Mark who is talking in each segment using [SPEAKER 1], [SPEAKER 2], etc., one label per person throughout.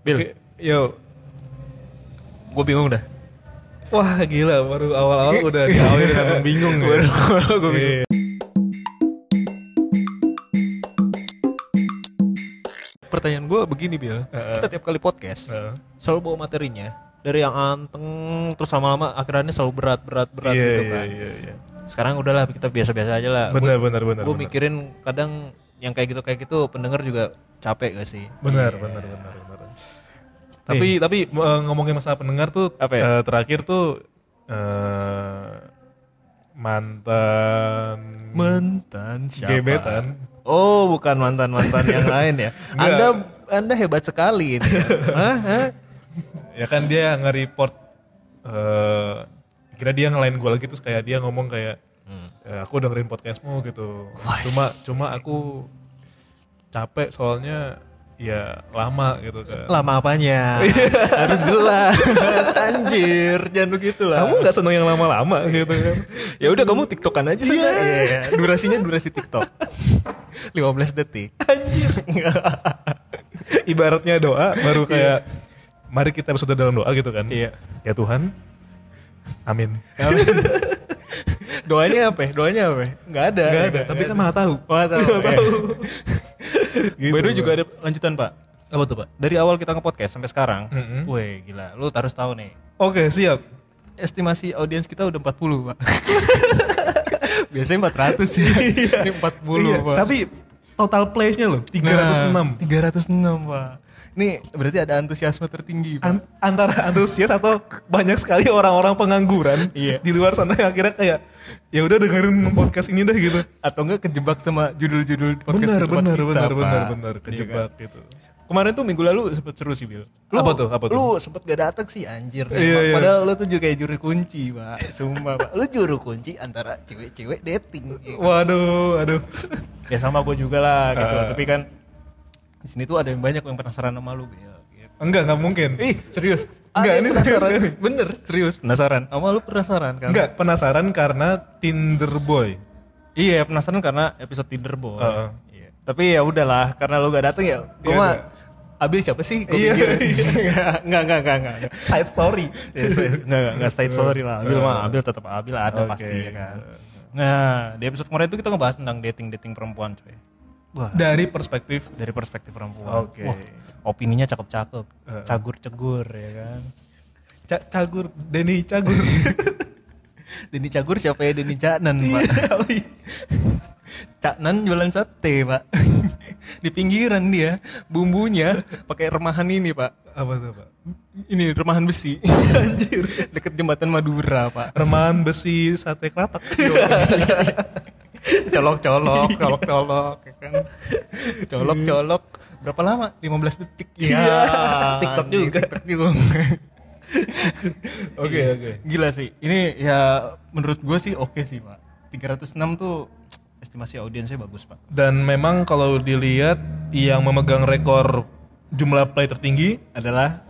[SPEAKER 1] Bil,
[SPEAKER 2] Yo,
[SPEAKER 1] gue bingung dah.
[SPEAKER 2] wah gila baru awal-awal udah diawali dengan bingung ya.
[SPEAKER 1] gue bingung.
[SPEAKER 2] Iya.
[SPEAKER 1] Pertanyaan gue begini Bil, kita tiap kali podcast
[SPEAKER 2] Heeh.
[SPEAKER 1] selalu bawa materinya dari yang anteng terus lama-lama akhirannya selalu berat berat berat
[SPEAKER 2] Iya,
[SPEAKER 1] gitu
[SPEAKER 2] iya,
[SPEAKER 1] kan.
[SPEAKER 2] iya, iya.
[SPEAKER 1] Sekarang udahlah kita biasa-biasa aja lah.
[SPEAKER 2] Benar, benar, benar.
[SPEAKER 1] Gue
[SPEAKER 2] benar.
[SPEAKER 1] mikirin kadang yang kayak gitu kayak gitu pendengar juga capek gak sih?
[SPEAKER 2] Benar, benar, benar, benar. Tapi tapi eh, ngomongin masalah pendengar tuh
[SPEAKER 1] Apa ya?
[SPEAKER 2] eh, terakhir tuh eh, mantan
[SPEAKER 1] Mantan
[SPEAKER 2] gebetan.
[SPEAKER 1] Oh, bukan mantan-mantan yang lain ya. Anda Anda hebat sekali ini. Hah? Hah?
[SPEAKER 2] Ya kan dia nge-report eh, kira dia ngelain gue lagi terus kayak dia ngomong kayak "Ya, aku dengerin podcastmu gitu. Cuma cuma aku capek soalnya ya lama gitu kan.
[SPEAKER 1] Lama apanya? Harus jelas. Anjir, jangan begitu lah.
[SPEAKER 2] Kamu nggak seneng yang lama-lama gitu kan.
[SPEAKER 1] Ya udah kamu TikTokan aja sana. Iya. Durasinya durasi TikTok. 15 detik. Anjir.
[SPEAKER 2] ibaratnya doa baru kayak mari kita bersatu dalam doa gitu kan
[SPEAKER 1] Iya.
[SPEAKER 2] ya Tuhan amin
[SPEAKER 1] Doanya apa? ya? Doanya apa? ya? Nggak ada. Enggak ada, tapi kan Maha tahu. Maha tahu. iya.
[SPEAKER 2] Gitu,
[SPEAKER 1] By the way
[SPEAKER 2] Pak.
[SPEAKER 1] juga ada lanjutan, Pak. Apa tuh, Pak? Dari awal kita nge-podcast sampai sekarang.
[SPEAKER 2] Mm-mm.
[SPEAKER 1] Weh, gila. Lu harus tahu nih.
[SPEAKER 2] oke siap
[SPEAKER 1] estimasi audiens kita udah 40 pak biasanya 400 sih ini 40
[SPEAKER 2] Iya,
[SPEAKER 1] pak
[SPEAKER 2] tapi total plays-nya loh 306
[SPEAKER 1] nah, 306 pak ini berarti ada antusiasme tertinggi pak
[SPEAKER 2] An- antara antusias atau banyak sekali orang-orang pengangguran
[SPEAKER 1] Iya.
[SPEAKER 2] di luar sana yang akhirnya kayak ya udah dengerin podcast ini deh gitu
[SPEAKER 1] atau enggak kejebak sama judul-judul podcast
[SPEAKER 2] benar
[SPEAKER 1] tempat
[SPEAKER 2] benar
[SPEAKER 1] kita,
[SPEAKER 2] benar
[SPEAKER 1] Pak.
[SPEAKER 2] benar
[SPEAKER 1] Iya
[SPEAKER 2] benar
[SPEAKER 1] kan?
[SPEAKER 2] kejebak gitu
[SPEAKER 1] kemarin tuh minggu lalu sempet seru sih Bil
[SPEAKER 2] Apa tuh? Apa tuh?
[SPEAKER 1] lu sempet gak dateng sih anjir
[SPEAKER 2] Iya, iya.
[SPEAKER 1] padahal lu tuh juga kayak juru kunci pak sumpah pak lu juru kunci antara cewek-cewek dating iya
[SPEAKER 2] waduh aduh
[SPEAKER 1] ya sama gue juga lah gitu
[SPEAKER 2] Ah.
[SPEAKER 1] tapi kan di sini tuh ada yang banyak yang penasaran sama lu Bel gitu.
[SPEAKER 2] enggak enggak mungkin
[SPEAKER 1] ih serius
[SPEAKER 2] Enggak,
[SPEAKER 1] Ada yang
[SPEAKER 2] ini serius,
[SPEAKER 1] Nah, penasaran.
[SPEAKER 2] ini.
[SPEAKER 1] bener serius penasaran sama lu penasaran kan
[SPEAKER 2] enggak penasaran karena Tinder boy
[SPEAKER 1] iya penasaran karena episode Tinder boy
[SPEAKER 2] Heeh.
[SPEAKER 1] Iya. tapi ya udahlah karena lu gak dateng ya
[SPEAKER 2] Iya,
[SPEAKER 1] gue mah
[SPEAKER 2] enggak.
[SPEAKER 1] Abil siapa sih? Gue
[SPEAKER 2] Iya,
[SPEAKER 1] Enggak, enggak, enggak, enggak.
[SPEAKER 2] side story
[SPEAKER 1] Ya, saya- Enggak, enggak, enggak state story lah. Abil mah, Abil tetap Abil ada
[SPEAKER 2] Oke.
[SPEAKER 1] pasti ya kan. Nah, di episode kemarin itu kita ngebahas tentang dating-dating perempuan coy. Wah,
[SPEAKER 2] Uh, dari perspektif
[SPEAKER 1] dari perspektif perempuan.
[SPEAKER 2] Oke.
[SPEAKER 1] Wah, opininya cakep-cakep, cagur-cegur ya kan.
[SPEAKER 2] Ca- cagur Denny cagur
[SPEAKER 1] Deni Cagur siapa ya Deni Caknan, Pak? Caknan jualan sate, Pak. Di pinggiran dia, bumbunya pakai remahan ini, Pak.
[SPEAKER 2] apa tuh pak
[SPEAKER 1] Ini remahan besi. Anjir, deket jembatan Madura, Pak.
[SPEAKER 2] remahan besi sate kelatak
[SPEAKER 1] Colok-colok, colok-colok ya kan. Colok-colok. Berapa lama? 15 detik. Iya. TikTok juga. TikTok juga.
[SPEAKER 2] oke oke
[SPEAKER 1] Gila sih. Ini ya menurut gue sih oke sih, Pak. 306 tuh estimasi audiensnya bagus, Pak.
[SPEAKER 2] dan memang kalau dilihat yang memegang rekor jumlah play tertinggi
[SPEAKER 1] Adalah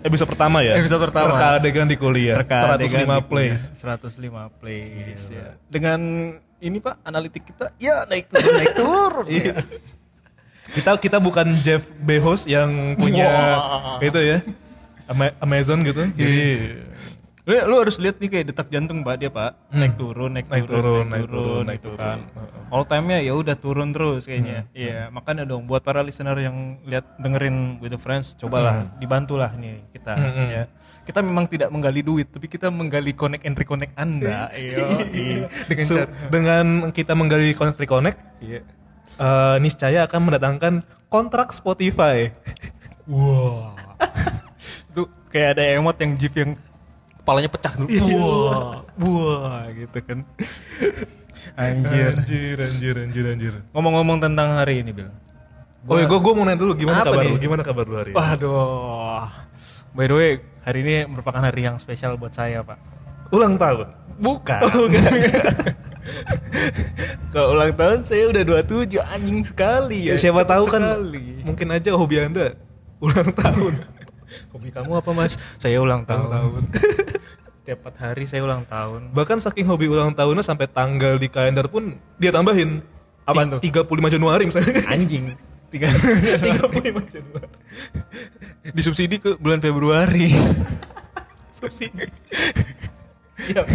[SPEAKER 2] episode pertama ya
[SPEAKER 1] Episode pertama.
[SPEAKER 2] reka adegan di kuliah
[SPEAKER 1] reka
[SPEAKER 2] 105 plays
[SPEAKER 1] 105 plays ya. Dengan ini, Pak, analitik kita ya naik turun naik turun. ya.
[SPEAKER 2] kita kita bukan Jeff Bezos yang punya itu ya Ama- Amazon gitu
[SPEAKER 1] Iya.
[SPEAKER 2] jadi
[SPEAKER 1] Lu, lu harus lihat nih kayak detak jantung Pak dia Pak naik turun Hmm. naik,
[SPEAKER 2] Naik turun,
[SPEAKER 1] turun
[SPEAKER 2] naik turun, naik
[SPEAKER 1] gitu kan all time nya ya udah turun terus kayaknya iya makanya dong buat para listener yang lihat dengerin with the friends cobalah dibantulah nih kita ya kita memang tidak menggali duit tapi kita menggali connect and reconnect anda iya iya. dengan
[SPEAKER 2] so,
[SPEAKER 1] cara
[SPEAKER 2] dengan kita menggali connect reconnect
[SPEAKER 1] iya
[SPEAKER 2] eh, niscaya akan mendatangkan kontrak Spotify
[SPEAKER 1] wow itu kayak ada emot yang jeep yang kepalanya pecah dulu wah wah gitu kan anjir
[SPEAKER 2] anjir anjir anjir anjir
[SPEAKER 1] Ngomong-ngomong tentang hari ini, Bil.
[SPEAKER 2] oh ya gue mau nanya dulu gimana
[SPEAKER 1] Apa
[SPEAKER 2] kabar
[SPEAKER 1] nih?
[SPEAKER 2] lu gimana kabar lu
[SPEAKER 1] Iya.
[SPEAKER 2] hari ini?
[SPEAKER 1] Waduh. By the way, hari ini merupakan hari yang spesial buat saya, Pak. Oh,
[SPEAKER 2] ulang tahun
[SPEAKER 1] Bukan. Kalau ulang tahun saya udah 27 anjing sekali
[SPEAKER 2] Ya,
[SPEAKER 1] ya.
[SPEAKER 2] siapa
[SPEAKER 1] Cepet
[SPEAKER 2] tahu kan
[SPEAKER 1] sekali.
[SPEAKER 2] mungkin aja hobi anda ulang tahun
[SPEAKER 1] Hobi kamu apa, Mas? Saya ulang tahun.
[SPEAKER 2] tahun
[SPEAKER 1] Tiap empat hari saya ulang tahun.
[SPEAKER 2] bahkan saking hobi ulang tahunnya sampai tanggal di kalender pun dia tambahin
[SPEAKER 1] Apaan
[SPEAKER 2] Ti- 35 Januari misalnya
[SPEAKER 1] Anjing. Tiga.
[SPEAKER 2] 35 Januari
[SPEAKER 1] disubsidi ke bulan Februari.
[SPEAKER 2] Subsidi.
[SPEAKER 1] Iya,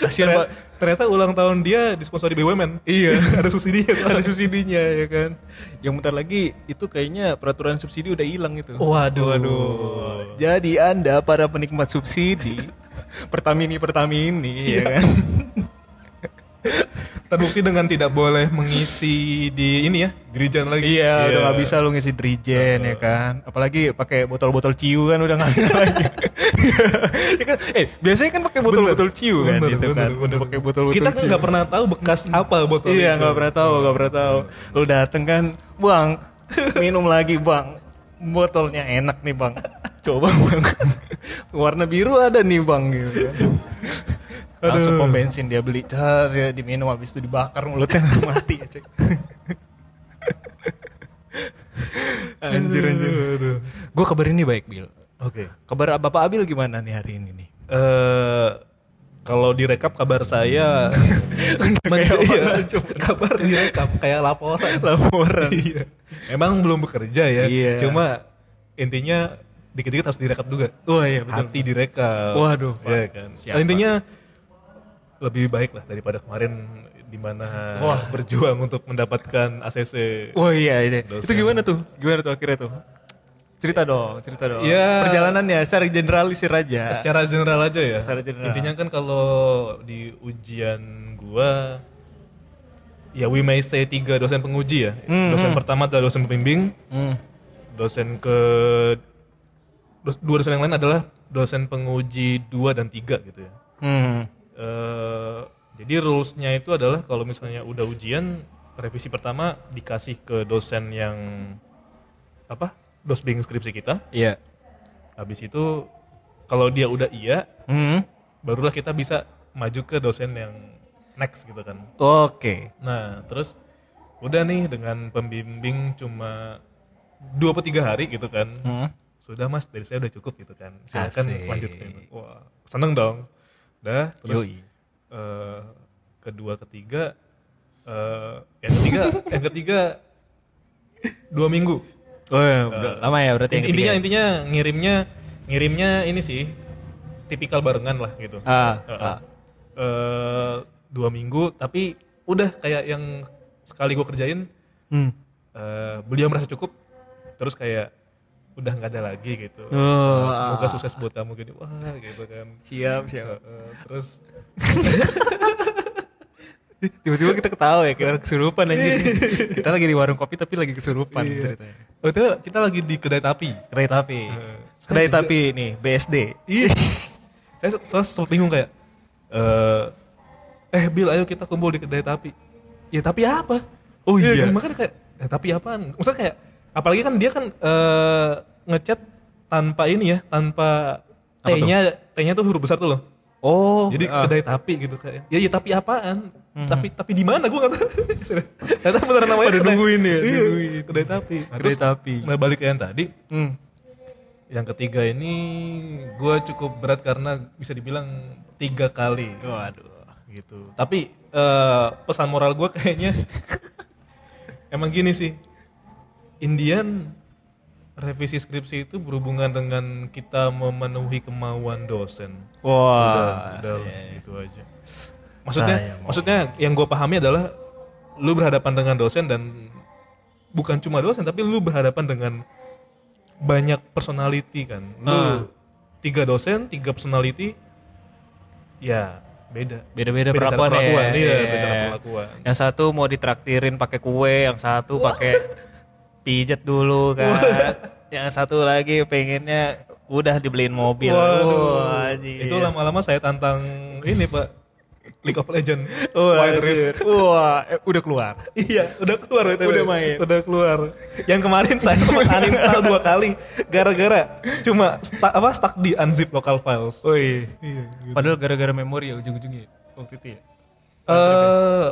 [SPEAKER 1] Kasihan Pak.
[SPEAKER 2] Ternyata ulang tahun dia disponsori BUMN.
[SPEAKER 1] Iya.
[SPEAKER 2] Ada subsidi ya.
[SPEAKER 1] Ada subsidinya ya kan. Yang bentar lagi itu kayaknya peraturan subsidi udah hilang itu.
[SPEAKER 2] Waduh.
[SPEAKER 1] Jadi Anda para penikmat subsidi Pertamini Pertamini ya kan.
[SPEAKER 2] Terbukti dengan tidak boleh mengisi di ini ya, dirijan lagi.
[SPEAKER 1] Iya, udah nggak bisa lu ngisi drijen ya kan. Apalagi pakai botol-botol ciu kan udah nggak bisa lagi. ya kan, eh biasanya kan pakai botol-botol ciu kan
[SPEAKER 2] Bener,
[SPEAKER 1] gitu
[SPEAKER 2] bener,
[SPEAKER 1] kan.
[SPEAKER 2] bener.
[SPEAKER 1] Udah pakai botol-botol
[SPEAKER 2] Kita kan
[SPEAKER 1] ciu.
[SPEAKER 2] nggak pernah tahu bekas apa botol
[SPEAKER 1] Iya,
[SPEAKER 2] itu.
[SPEAKER 1] nggak pernah tahu, nggak pernah tahu. Lu dateng kan, bang, minum lagi bang. Botolnya enak nih bang. Coba bang. Warna biru ada nih bang. Gitu. kan. Langsung pom bensin dia beli cas ya diminum habis itu dibakar mulutnya mati ya cek. anjir anjir.
[SPEAKER 2] Aduh.
[SPEAKER 1] Gue kabar ini baik Bil.
[SPEAKER 2] Oke.
[SPEAKER 1] Kabar Bapak Abil gimana nih hari ini nih?
[SPEAKER 2] Eh, kalau direkap kabar saya menj- iya, kabar direkap kayak laporan.
[SPEAKER 1] Laporan.
[SPEAKER 2] Iya. Emang belum bekerja ya.
[SPEAKER 1] Iya.
[SPEAKER 2] Cuma intinya dikit-dikit harus direkap juga.
[SPEAKER 1] Wah iya betul.
[SPEAKER 2] Hati direkap.
[SPEAKER 1] Waduh, Pak.
[SPEAKER 2] Iya kan.
[SPEAKER 1] Siapa?
[SPEAKER 2] Intinya lebih baik lah daripada kemarin di mana berjuang untuk mendapatkan ACC.
[SPEAKER 1] Wah iya iya. Itu gimana tuh? Gimana tuh akhirnya tuh? Cerita dong, cerita dong.
[SPEAKER 2] Iya.
[SPEAKER 1] Perjalanannya secara generalisir aja.
[SPEAKER 2] Secara general aja ya.
[SPEAKER 1] Secara general.
[SPEAKER 2] Intinya kan kalau di ujian gua ya we may say tiga dosen penguji ya.
[SPEAKER 1] Hmm,
[SPEAKER 2] dosen pertama adalah dosen pembimbing, dosen ke dos- dua dosen yang lain adalah dosen penguji dua dan tiga gitu ya.
[SPEAKER 1] Hmm.
[SPEAKER 2] Eh, jadi rulesnya itu adalah kalau misalnya udah ujian revisi pertama dikasih ke dosen yang apa dosbing skripsi kita.
[SPEAKER 1] Iya.
[SPEAKER 2] Habis itu kalau dia udah iya
[SPEAKER 1] Hmm.
[SPEAKER 2] barulah kita bisa maju ke dosen yang next gitu kan.
[SPEAKER 1] Oke.
[SPEAKER 2] Nah, terus udah nih dengan pembimbing cuma dua atau tiga hari gitu kan. Sudah mas, dari saya udah cukup gitu kan. Silakan
[SPEAKER 1] Hmm. Asik.
[SPEAKER 2] lanjut. Wah, seneng dong. Udah, terus
[SPEAKER 1] Yoi.
[SPEAKER 2] eh, kedua, ketiga, eh, yang ketiga, yang ketiga dua minggu. Eh,
[SPEAKER 1] Oh, iya, udah lama ya berarti yang
[SPEAKER 2] intinya
[SPEAKER 1] ketiga.
[SPEAKER 2] intinya ngirimnya ngirimnya ini sih tipikal barengan lah gitu.
[SPEAKER 1] Ah,
[SPEAKER 2] Heeh.
[SPEAKER 1] ah.
[SPEAKER 2] Eh, dua minggu tapi udah kayak yang sekali gue kerjain
[SPEAKER 1] Hmm.
[SPEAKER 2] eh, beliau merasa cukup terus kayak udah nggak ada lagi gitu
[SPEAKER 1] Oh,
[SPEAKER 2] semoga sukses buat kamu gini wah gitu kan
[SPEAKER 1] Siap, siap.
[SPEAKER 2] Eh, terus
[SPEAKER 1] Tiba-tiba kita ketawa ya, kayak orang kesurupan anjir. kita lagi di warung kopi tapi lagi kesurupan ceritanya.
[SPEAKER 2] oh, itu kita lagi di kedai tapi
[SPEAKER 1] Kedai tapi.
[SPEAKER 2] Eh,
[SPEAKER 1] Kedai tapi nih, BSD.
[SPEAKER 2] Iya. saya se- saya sempat bingung kayak eh eh Bill ayo kita kumpul di kedai tapi. Ya tapi apa?
[SPEAKER 1] Oh, iya.
[SPEAKER 2] Makanya kayak "Eh, tapi apaan? Maksudnya kayak apalagi kan dia kan eh ngechat tanpa ini ya, tanpa T-nya T-nya tuh huruf besar tuh loh.
[SPEAKER 1] Oh, Mhm.
[SPEAKER 2] Jadi kedai tapi gitu kayak. Ya ya tapi apaan? Tapi tapi di mana gua enggak tahu. Enggak tahu beneran namanya.
[SPEAKER 1] Pada
[SPEAKER 2] kedai-
[SPEAKER 1] nungguin ya,
[SPEAKER 2] Iya,
[SPEAKER 1] nungguin.
[SPEAKER 2] kedai tapi. Nah,
[SPEAKER 1] Kedai
[SPEAKER 2] terus,
[SPEAKER 1] tapi.
[SPEAKER 2] Nah, balik ke yang tadi,
[SPEAKER 1] Hmm.
[SPEAKER 2] yang ketiga ini gue cukup berat karena bisa dibilang tiga kali. Waduh. Gitu. Tapi eh, pesan moral gue kayaknya emang gini sih. Indian revisi skripsi itu berhubungan dengan kita memenuhi kemauan dosen.
[SPEAKER 1] Wah.
[SPEAKER 2] Udah, gitu aja. Maksudnya,
[SPEAKER 1] Ah, Sayang.
[SPEAKER 2] maksudnya yang gue pahami adalah lu berhadapan dengan dosen dan bukan cuma dosen tapi lu berhadapan dengan banyak personality kan. Lu tiga dosen, tiga personality, ya beda.
[SPEAKER 1] Beda-beda
[SPEAKER 2] Beda cara
[SPEAKER 1] perlakuan ya.
[SPEAKER 2] perlakuan, iya,
[SPEAKER 1] Iya.
[SPEAKER 2] beda cara perlakuan.
[SPEAKER 1] Yang satu mau ditraktirin pakai kue, yang satu pakai pijet dulu kan. yang satu lagi pengennya udah dibeliin mobil. Wah, anjir.
[SPEAKER 2] Itu lama-lama saya tantang ini pak League of Legend
[SPEAKER 1] Wah,
[SPEAKER 2] Wild Rift.
[SPEAKER 1] anjir. Wah, eh, udah keluar.
[SPEAKER 2] Iya, udah keluar itu.
[SPEAKER 1] Udah main.
[SPEAKER 2] Udah keluar. Yang kemarin saya sempat uninstall dua kali gara-gara cuma sta- apa stuck di unzip local files.
[SPEAKER 1] Oh iya.
[SPEAKER 2] Iya.
[SPEAKER 1] Padahal gara-gara memori ya ujung-ujungnya waktu itu ya.
[SPEAKER 2] Eh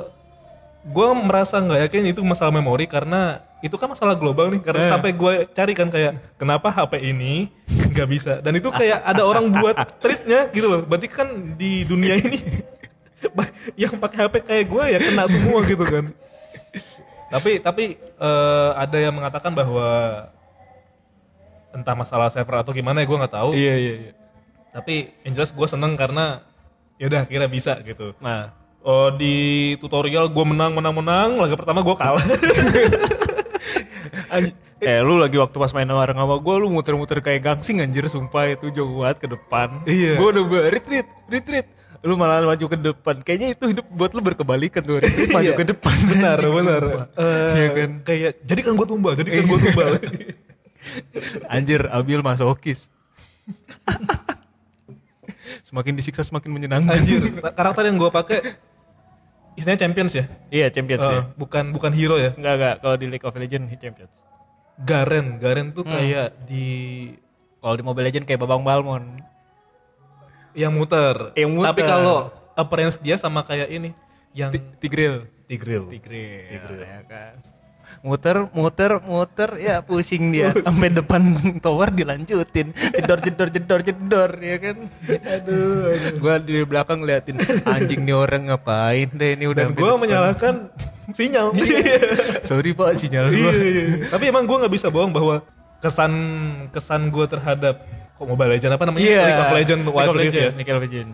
[SPEAKER 2] gue merasa nggak yakin itu masalah memori karena itu kan masalah global nih karena sampai gue cari kan kayak kenapa HP ini nggak bisa dan itu kayak ada orang buat treatnya gitu loh berarti kan di dunia ini ba- yang pakai HP kayak gue ya kena semua gitu kan tapi tapi eh, ada yang mengatakan bahwa entah masalah server atau gimana ya gue nggak tahu
[SPEAKER 1] Iya iya iya.
[SPEAKER 2] tapi yang jelas gue seneng karena ya udah akhirnya bisa gitu
[SPEAKER 1] Nah,
[SPEAKER 2] Oh, di tutorial gue menang menang menang laga pertama gue kalah
[SPEAKER 1] Anj- eh lu lagi waktu pas main warung sama gue lu muter-muter kayak gangsing anjir sumpah itu jauh banget ke depan.
[SPEAKER 2] Iya.
[SPEAKER 1] Gue udah ber- retreat, retreat. Lu malah maju ke depan. Kayaknya itu hidup buat lu berkebalikan tuh. Retreat maju
[SPEAKER 2] Iya.
[SPEAKER 1] ke depan.
[SPEAKER 2] benar
[SPEAKER 1] anjing,
[SPEAKER 2] benar
[SPEAKER 1] sumpah.
[SPEAKER 2] Eh,
[SPEAKER 1] Iya kan? Iya.
[SPEAKER 2] kayak jadi kan gue tumbal jadi kan gue tumbal
[SPEAKER 1] Anjir, Abil masokis. semakin disiksa semakin menyenangkan.
[SPEAKER 2] anjir ra- karakter yang gue pakai istilahnya champions ya
[SPEAKER 1] Iya, Champions
[SPEAKER 2] Eh, bukan bukan hero ya
[SPEAKER 1] Enggak enggak kalau di League of Legends Champions.
[SPEAKER 2] Garen Garen
[SPEAKER 1] Hmm.
[SPEAKER 2] tuh kayak di
[SPEAKER 1] Kalau di Mobile Legends kayak Babang Balmon.
[SPEAKER 2] yang muter,
[SPEAKER 1] Yang muter.
[SPEAKER 2] tapi kalau appearance dia sama kayak ini yang
[SPEAKER 1] Tigril.
[SPEAKER 2] Tigril
[SPEAKER 1] Tigre, ya kan. Muter, muter, muter, ya pusing dia sampai depan tower dilanjutin, jedor, jedor, jedor, jedor, ya kan. Aduh, gue di belakang ngeliatin anjing nih orang ngapain deh ini udah.
[SPEAKER 2] dan gue menyalahkan sinyal
[SPEAKER 1] Iya. Sorry pak sinyal gue.
[SPEAKER 2] tapi emang gue nggak bisa bohong bahwa kesan kesan gue terhadap kok Mobile Legend apa namanya League of Legend Wild Rift ya
[SPEAKER 1] Iya. League of Legend.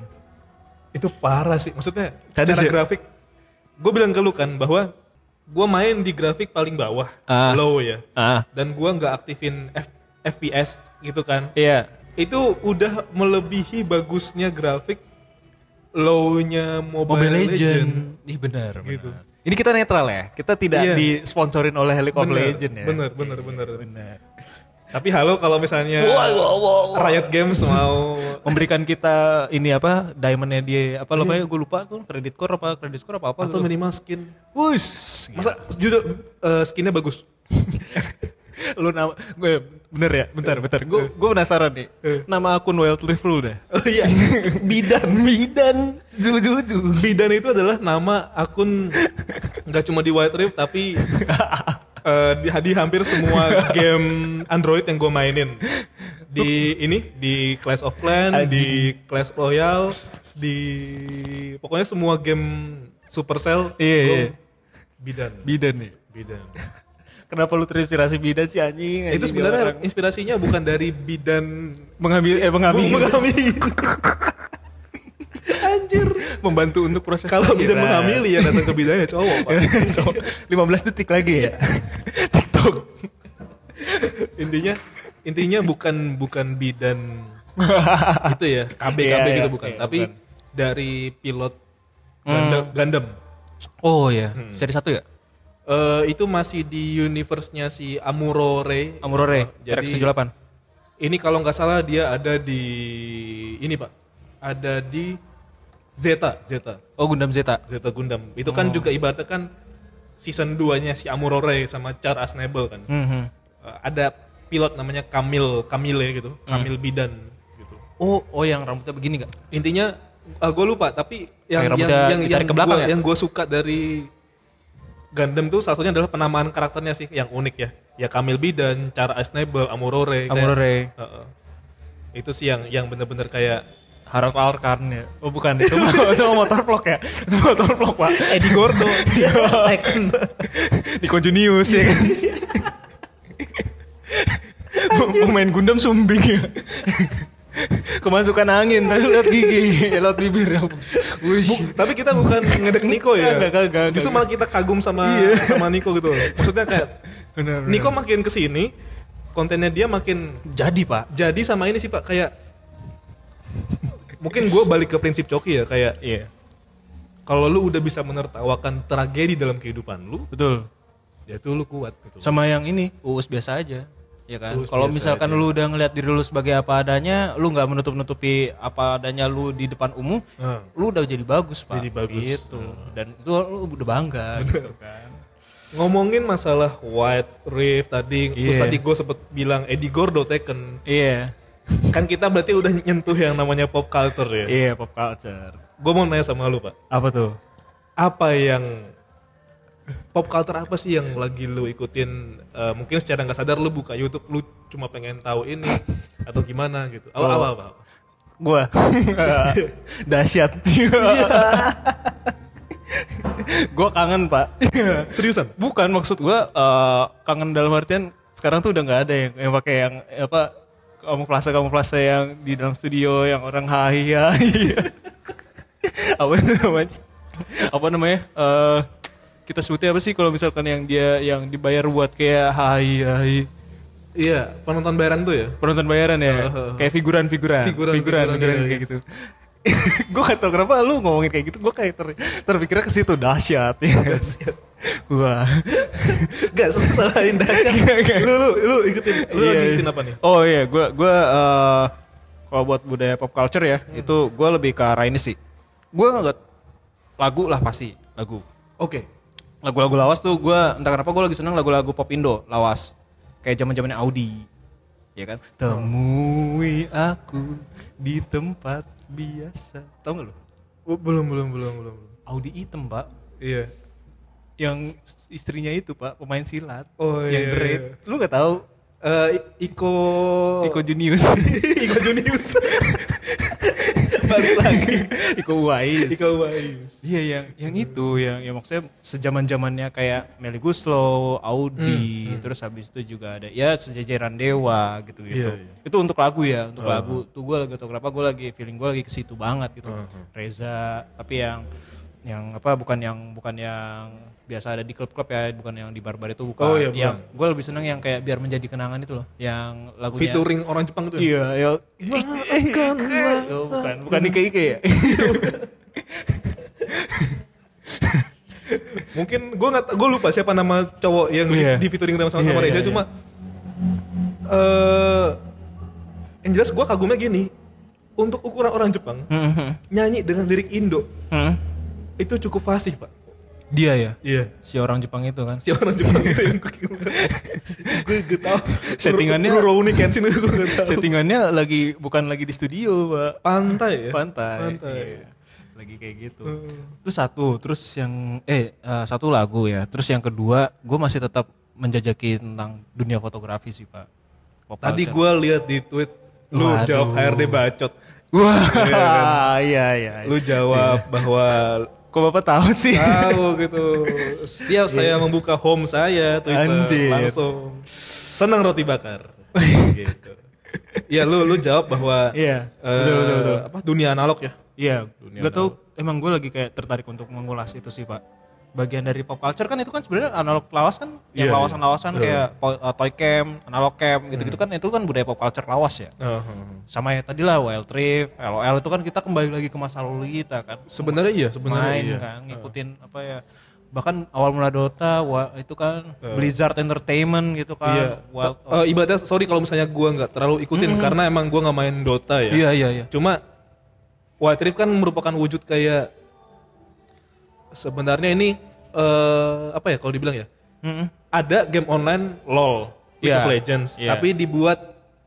[SPEAKER 2] itu parah sih maksudnya
[SPEAKER 1] Tadi
[SPEAKER 2] secara
[SPEAKER 1] sih-
[SPEAKER 2] grafik gue bilang ke lu kan bahwa gue main di grafik paling bawah
[SPEAKER 1] Ah.
[SPEAKER 2] low ya
[SPEAKER 1] Ah,
[SPEAKER 2] dan gue nggak aktifin F- FPS gitu kan
[SPEAKER 1] iya.
[SPEAKER 2] itu udah melebihi bagusnya grafik low-nya Mobile,
[SPEAKER 1] Mobile
[SPEAKER 2] Legend.
[SPEAKER 1] Legend. Ih benar,
[SPEAKER 2] Gitu.
[SPEAKER 1] benar. Ini kita netral ya, kita tidak
[SPEAKER 2] Iya.
[SPEAKER 1] disponsorin oleh League of Legend ya.
[SPEAKER 2] Bener, bener, bener.
[SPEAKER 1] Benar.
[SPEAKER 2] Tapi halo kalau misalnya Riot Games mau
[SPEAKER 1] memberikan kita ini apa diamondnya dia apa namanya gue lupa tuh kredit score apa kredit score apa apa
[SPEAKER 2] atau
[SPEAKER 1] gitu.
[SPEAKER 2] minimal skin.
[SPEAKER 1] Wus,
[SPEAKER 2] Masa judul eh, skinnya bagus?
[SPEAKER 1] lu nama gue bener ya bentar bentar gue gue penasaran nih nama akun Wild Rift lu dah
[SPEAKER 2] Oh iya.
[SPEAKER 1] Eh. bidan bidan jujuju
[SPEAKER 2] Bidan itu adalah nama akun nggak cuma di Wild Rift tapi eh, di, di hampir semua game Android yang gue mainin di ini di Clash of Clans, di Clash Royale, di pokoknya semua game Supercell
[SPEAKER 1] Iya,
[SPEAKER 2] gua
[SPEAKER 1] iya.
[SPEAKER 2] Bidan.
[SPEAKER 1] bidan nih
[SPEAKER 2] Bidan.
[SPEAKER 1] kenapa lu terinspirasi bidan sih
[SPEAKER 2] Itu
[SPEAKER 1] anjing Anjing, dia
[SPEAKER 2] sebenarnya
[SPEAKER 1] Iya, orang
[SPEAKER 2] inspirasinya bukan dari bidan
[SPEAKER 1] mengambil eh mengambil
[SPEAKER 2] Anjir.
[SPEAKER 1] membantu untuk proses
[SPEAKER 2] Kalau bidan
[SPEAKER 1] akhirat.
[SPEAKER 2] menghamili ya datang ke bidannya cowok, Pak.
[SPEAKER 1] Cowok, 15 detik lagi ya TikTok
[SPEAKER 2] intinya intinya bukan bukan bidan itu ya KB
[SPEAKER 1] Iya,
[SPEAKER 2] KB
[SPEAKER 1] iya,
[SPEAKER 2] gitu bukan
[SPEAKER 1] iya,
[SPEAKER 2] tapi
[SPEAKER 1] bukan. Hmm.
[SPEAKER 2] dari pilot Gundam, Gundam.
[SPEAKER 1] oh ya seri satu ya
[SPEAKER 2] Eh, itu masih di universe-nya si Amuro Ray
[SPEAKER 1] Amurore
[SPEAKER 2] Jadi-
[SPEAKER 1] Rex 78
[SPEAKER 2] ini kalau nggak salah dia ada di ini pak ada di Zeta Zeta
[SPEAKER 1] oh Gundam Zeta
[SPEAKER 2] Zeta Gundam itu kan
[SPEAKER 1] Hmm.
[SPEAKER 2] juga ibaratnya kan season 2 nya si Amuro Ray sama Char Aznable kan
[SPEAKER 1] Mhm.
[SPEAKER 2] Eh, ada pilot namanya Kamil Kamile gitu
[SPEAKER 1] Hmm.
[SPEAKER 2] Kamil Bidan gitu
[SPEAKER 1] Oh, oh yang rambutnya begini gak?
[SPEAKER 2] intinya gue lupa tapi yang
[SPEAKER 1] Kayak
[SPEAKER 2] yang
[SPEAKER 1] rambutnya
[SPEAKER 2] yang yang
[SPEAKER 1] ditarik ke belakang
[SPEAKER 2] gua,
[SPEAKER 1] ya?
[SPEAKER 2] yang gua suka dari Gundam tuh salah satunya adalah penamaan karakternya sih yang unik ya ya Kamil Bidan, Cara Aznable, Amurore, kayak-
[SPEAKER 1] Amurore.
[SPEAKER 2] Heeh. itu sih yang yang bener-bener kayak
[SPEAKER 1] Harap Alkarn ya? Oh bukan, itu, itu motor vlog ya? Itu motor vlog pak.
[SPEAKER 2] Eddie Gordo Tekken.
[SPEAKER 1] Nico Junius ya kan? Pemain Gundam sumbing ya? Kemasukan angin, tadi lihat gigi, lihat bibir. Wush.
[SPEAKER 2] Bu- tapi kita bukan ngedek Niko ya
[SPEAKER 1] Kagak, kagak,
[SPEAKER 2] justru
[SPEAKER 1] kagak.
[SPEAKER 2] malah kita kagum sama
[SPEAKER 1] Iya.
[SPEAKER 2] sama Niko gitu loh. maksudnya kayak
[SPEAKER 1] Benar, benar.
[SPEAKER 2] Niko makin kesini kontennya dia makin
[SPEAKER 1] Jadi pak.
[SPEAKER 2] jadi sama ini sih pak kayak mungkin gue balik ke prinsip coki ya kayak
[SPEAKER 1] Iya,
[SPEAKER 2] kalau lu udah bisa menertawakan tragedi dalam kehidupan lu
[SPEAKER 1] betul.
[SPEAKER 2] ya itu lu kuat gitu
[SPEAKER 1] Sama yang ini, uus biasa aja. Ya kan.
[SPEAKER 2] Uus
[SPEAKER 1] Kalau
[SPEAKER 2] biasa
[SPEAKER 1] misalkan lu udah ngelihat diri lu sebagai apa adanya, lu nggak menutup-nutupi apa adanya lu di depan umum,
[SPEAKER 2] Heeh.
[SPEAKER 1] lu udah jadi bagus pak
[SPEAKER 2] Jadi bagus.
[SPEAKER 1] gitu dan itu lu udah bangga gitu kan
[SPEAKER 2] ngomongin masalah white rift tadi terus
[SPEAKER 1] Iya.
[SPEAKER 2] tadi gue sempet bilang Eddie Gordo Tekken
[SPEAKER 1] iya
[SPEAKER 2] kan kita berarti udah nyentuh yang namanya pop culture ya
[SPEAKER 1] iya pop culture
[SPEAKER 2] gue mau nanya sama lu pak
[SPEAKER 1] apa tuh
[SPEAKER 2] apa yang pop culture apa sih yang lagi lu ikutin Eh, mungkin secara nggak sadar lu buka YouTube lu cuma pengen tahu ini atau gimana gitu apa apa, apa, apa.
[SPEAKER 1] gua dahsyat gua kangen pak
[SPEAKER 2] seriusan
[SPEAKER 1] Iya, bukan maksud gua eh, kangen dalam artian sekarang tuh udah nggak ada yang yang pakai yang apa kamuflase kamuflase yang di dalam studio yang orang hai hai apa itu namanya apa namanya Eh, kita sebutnya apa sih kalau misalkan yang dia yang dibayar buat kayak hai hai
[SPEAKER 2] Iya, penonton bayaran tuh ya.
[SPEAKER 1] penonton bayaran ya kayak figuran figuran
[SPEAKER 2] Figuran, figuran,
[SPEAKER 1] figuran, figuran
[SPEAKER 2] iya,
[SPEAKER 1] kayak gitu gue gak tau kenapa lu ngomongin kayak gitu gue kayak ter- terpikirnya ke situ dahsyat ya dahsyat wah
[SPEAKER 2] Gak salahin dasar. lu lu lu ikutin. Lu
[SPEAKER 1] Iya,
[SPEAKER 2] lagi
[SPEAKER 1] iya.
[SPEAKER 2] ikutin apa nih?
[SPEAKER 3] Oh iya, gue gue eh, kalau buat budaya pop culture ya, itu gue lebih ke arah ini sih. Gue nggak lagu lah pasti lagu.
[SPEAKER 2] Oke.
[SPEAKER 3] Lagu-lagu lawas tuh gue entah kenapa gue lagi seneng lagu-lagu pop Indo lawas. Kayak zaman zamannya Audi, ya kan?
[SPEAKER 1] temui aku di tempat biasa tau gak lu
[SPEAKER 2] Oh, Belum belum belum belum. belum.
[SPEAKER 3] Audi hitam pak.
[SPEAKER 2] Iya.
[SPEAKER 1] yang istrinya itu pak pemain silat
[SPEAKER 2] Oh,
[SPEAKER 1] yang
[SPEAKER 2] iya,
[SPEAKER 1] dread
[SPEAKER 2] iya.
[SPEAKER 1] lu gak tahu Oh.
[SPEAKER 2] Eh, Iko
[SPEAKER 1] Iko Junius
[SPEAKER 2] Iko Junius. Balik lagi.
[SPEAKER 1] Iko Uwais
[SPEAKER 2] Iko Uwais.
[SPEAKER 1] Iya yang yang itu yang yang maksudnya
[SPEAKER 3] Sejaman zamannya kayak Melly Guslow, Audi, terus habis itu juga ada ya sejajaran Dewa gitu gitu.
[SPEAKER 2] Iya, iya.
[SPEAKER 3] Itu untuk lagu ya, untuk lagu. Tuh gue lagi tau kenapa gue lagi feeling gue lagi ke situ banget gitu. Reza, tapi yang yang apa bukan yang bukan yang biasa ada di klub-klub ya, bukan yang di barbar itu bukan.
[SPEAKER 2] Oh, iya,
[SPEAKER 3] yang gue lebih seneng yang kayak biar menjadi kenangan itu loh, yang lagunya.
[SPEAKER 2] Featuring orang Jepang tuh. ya?
[SPEAKER 3] Iya, ya. eh,
[SPEAKER 1] Oh, bukan bukan Ike Ike ya
[SPEAKER 2] Mungkin gue nggak gue lupa siapa nama cowok yang di-
[SPEAKER 1] Iya.
[SPEAKER 2] di featuring sama sama
[SPEAKER 1] Iya,
[SPEAKER 2] Reza
[SPEAKER 1] iya,
[SPEAKER 2] cuma eh yang jelas gue kagumnya gini untuk ukuran orang Jepang nyanyi dengan lirik Indo itu cukup fasih pak.
[SPEAKER 3] Dia ya,
[SPEAKER 2] Iya.
[SPEAKER 3] si orang Jepang itu kan.
[SPEAKER 2] Si orang Jepang itu yang gue gue gak tau.
[SPEAKER 1] Settingannya-
[SPEAKER 2] Rurouni Kenshin itu gue gak tau.
[SPEAKER 1] settingannya lagi bukan lagi di studio pak
[SPEAKER 2] Pantai ya.
[SPEAKER 1] pantai,
[SPEAKER 2] Pantai. Hmm.
[SPEAKER 1] Iya. lagi kayak gitu terus satu terus yang
[SPEAKER 3] Eh eh, satu lagu ya. Terus yang kedua, gue masih tetap menjajaki tentang dunia fotografi sih pak. Pop
[SPEAKER 2] Tadi
[SPEAKER 3] culture.
[SPEAKER 2] gue lihat di tweet lu
[SPEAKER 3] Waduh.
[SPEAKER 2] jawab HRD bacot.
[SPEAKER 3] kan?
[SPEAKER 1] wah iya iya
[SPEAKER 2] Lu jawab bahwa
[SPEAKER 1] kok bapak tahu sih
[SPEAKER 2] tahu gitu. Setiap saya membuka home saya Twitter
[SPEAKER 1] Iya. Anjir.
[SPEAKER 2] langsung senang roti bakar. gitu. Ya lu lu jawab bahwa
[SPEAKER 1] Iya,
[SPEAKER 2] eh, apa dunia analog ya.
[SPEAKER 3] Iya, gak tau emang gue lagi kayak tertarik untuk mengulas itu sih pak. Bagian dari pop culture kan itu kan sebenarnya analog lawas kan, yang
[SPEAKER 2] Iya,
[SPEAKER 3] lawasan-lawasan kayak po- eh, toy cam, analog cam gitu-gitu
[SPEAKER 2] Hmm.
[SPEAKER 3] kan itu kan budaya pop culture lawas ya.
[SPEAKER 1] Oh.
[SPEAKER 3] Sama ya tadi lah wild thrift, LOL itu kan kita kembali lagi ke masa lalu kita kan.
[SPEAKER 2] Sebenarnya iya, sebenarnya
[SPEAKER 3] main
[SPEAKER 2] iya.
[SPEAKER 3] kan ngikutin apa ya bahkan awal mula Dota wah, itu kan Blizzard Entertainment gitu kan
[SPEAKER 2] Iya.
[SPEAKER 3] Wild-
[SPEAKER 2] Eh, ibaratnya sorry kalau misalnya gua nggak terlalu ikutin karena emang gua nggak main Dota ya.
[SPEAKER 3] iya iya iya
[SPEAKER 2] Cuma White Rift kan merupakan wujud kayak sebenarnya ini eh apa ya kalau dibilang ya? Ada game online LoL, League
[SPEAKER 3] Iya.
[SPEAKER 2] of Legends,
[SPEAKER 3] Iya.
[SPEAKER 2] tapi dibuat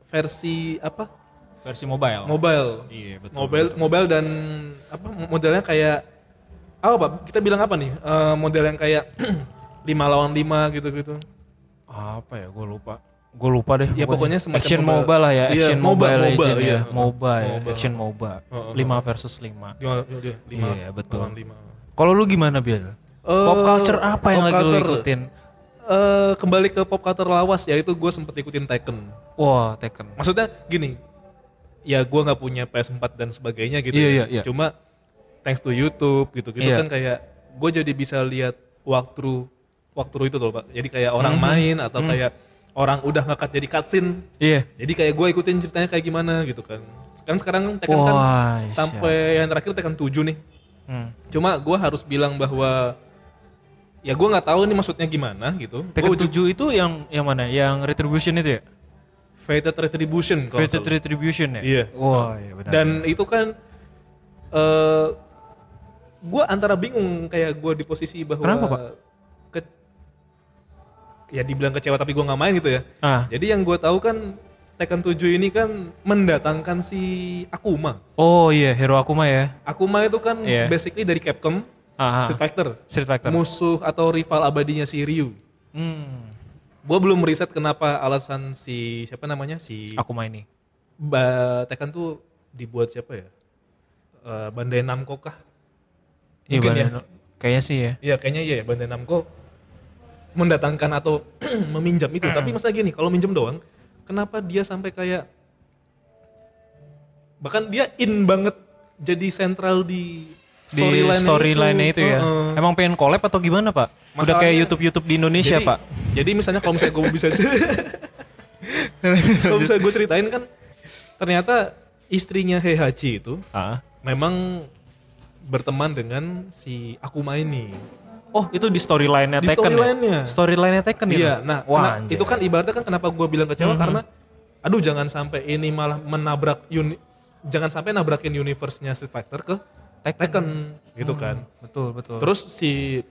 [SPEAKER 2] versi apa?
[SPEAKER 3] versi mobile
[SPEAKER 2] Oh. Mobile.
[SPEAKER 3] Iya, betul,
[SPEAKER 2] Mobile, mobile dan apa modelnya kayak apa? Pak? Kita bilang apa nih? Eh, model yang kayak 5 lawan 5 gitu-gitu.
[SPEAKER 3] apa ya gue lupa gue lupa deh
[SPEAKER 2] Ya, pokoknya semacam
[SPEAKER 3] action
[SPEAKER 2] mobile.
[SPEAKER 3] mobile, lah ya
[SPEAKER 2] Iya,
[SPEAKER 3] action
[SPEAKER 2] MOBA,
[SPEAKER 3] mobile,
[SPEAKER 2] MOBA,
[SPEAKER 3] legend
[SPEAKER 2] iya.
[SPEAKER 3] ya MOBA ya action MOBA 5 versus 5
[SPEAKER 2] Lima- Iya, lima
[SPEAKER 3] Iya, betul.
[SPEAKER 2] lawan lima.
[SPEAKER 3] kalau lu gimana Bill Eh, pop culture apa yang
[SPEAKER 2] pop
[SPEAKER 3] lagi lu
[SPEAKER 2] culture.
[SPEAKER 3] ikutin
[SPEAKER 2] Eh, kembali ke pop culture lawas yaitu gue sempet ikutin Tekken.
[SPEAKER 3] wah Tekken
[SPEAKER 2] Maksudnya gini, ya gue nggak punya PS4 dan sebagainya gitu.
[SPEAKER 3] Iya,
[SPEAKER 2] ya.
[SPEAKER 3] iya, iya.
[SPEAKER 2] Cuma thanks to YouTube gitu-gitu
[SPEAKER 3] Iya.
[SPEAKER 2] kan kayak gue jadi bisa lihat walkthrough walkthrough itu loh pak. Jadi kayak
[SPEAKER 3] Mhm.
[SPEAKER 2] orang main atau kayak orang udah ngangkat jadi cutscene.
[SPEAKER 3] iya
[SPEAKER 2] Jadi kayak gue ikutin ceritanya kayak gimana gitu kan. Sekarang sekarang Tekken kan
[SPEAKER 3] Wah, siap.
[SPEAKER 2] sampai yang terakhir Tekken 7 nih.
[SPEAKER 3] Hmm.
[SPEAKER 2] Cuma gue harus bilang bahwa ya gue nggak tahu ini maksudnya gimana gitu. Gua
[SPEAKER 3] Tekken
[SPEAKER 2] uju-
[SPEAKER 3] 7 Oh, itu yang yang mana yang retribution itu ya
[SPEAKER 2] Fated Retribution kalau
[SPEAKER 3] Fated
[SPEAKER 2] nggak salah.
[SPEAKER 3] retribution ya
[SPEAKER 2] Iya.
[SPEAKER 3] wah iya benar
[SPEAKER 2] Dan itu kan eh gue antara bingung kayak gue di posisi bahwa
[SPEAKER 3] Kenapa, Pak?
[SPEAKER 2] ke- ya dibilang kecewa tapi gue nggak main gitu ya.
[SPEAKER 3] ah
[SPEAKER 2] Jadi yang gue tahu kan Tekken 7 ini kan mendatangkan si Akuma.
[SPEAKER 3] Oh iya, Hero Akuma ya.
[SPEAKER 2] Akuma itu kan
[SPEAKER 3] Iya.
[SPEAKER 2] basically dari Capcom,
[SPEAKER 3] Ah,
[SPEAKER 2] Street Fighter,
[SPEAKER 3] Street Fighter.
[SPEAKER 2] musuh atau rival abadinya si Ryu.
[SPEAKER 3] Hmm,
[SPEAKER 2] Gue belum meriset kenapa alasan si siapa namanya si
[SPEAKER 3] Akuma ini.
[SPEAKER 2] Ba- Tekken tuh dibuat siapa ya? Eh, Bandai Namco kah?
[SPEAKER 3] Iya,
[SPEAKER 2] Mungkin ya.
[SPEAKER 3] benar. Kayaknya sih ya.
[SPEAKER 2] Iya kayaknya iya ya Bandai Namco mendatangkan atau meminjam itu. Tapi
[SPEAKER 3] Hmm.
[SPEAKER 2] maksudnya gini, kalau minjem doang, kenapa dia sampai kayak bahkan dia in banget jadi sentral di
[SPEAKER 3] di storyline itu, ya.
[SPEAKER 2] Heeh.
[SPEAKER 3] Emang pengen collab atau gimana pak? Udah
[SPEAKER 2] Masalahnya-
[SPEAKER 3] kayak YouTube YouTube di Indonesia
[SPEAKER 2] jadi,
[SPEAKER 3] pak?
[SPEAKER 2] Jadi misalnya kalau misalnya gue bisa kalau misalnya gue ceritain kan ternyata istrinya Heihachi itu
[SPEAKER 3] Ah.
[SPEAKER 2] memang berteman dengan si Akuma ini.
[SPEAKER 3] Oh itu di storyline-nya
[SPEAKER 2] Di
[SPEAKER 3] Tekken
[SPEAKER 2] storyline-nya.
[SPEAKER 3] ya? Storyline-nya Tekken itu?
[SPEAKER 2] Iya, nah kena-
[SPEAKER 3] Wah, anjay. Mm-hmm.
[SPEAKER 2] itu kan ibaratnya kan kenapa gue bilang kecewa karena aduh jangan sampai ini malah menabrak uni- jangan sampai nabrakin universe-nya Street Fighter ke Tekken, gitu
[SPEAKER 3] Mm.
[SPEAKER 2] kan.
[SPEAKER 3] Betul, betul.
[SPEAKER 2] Terus si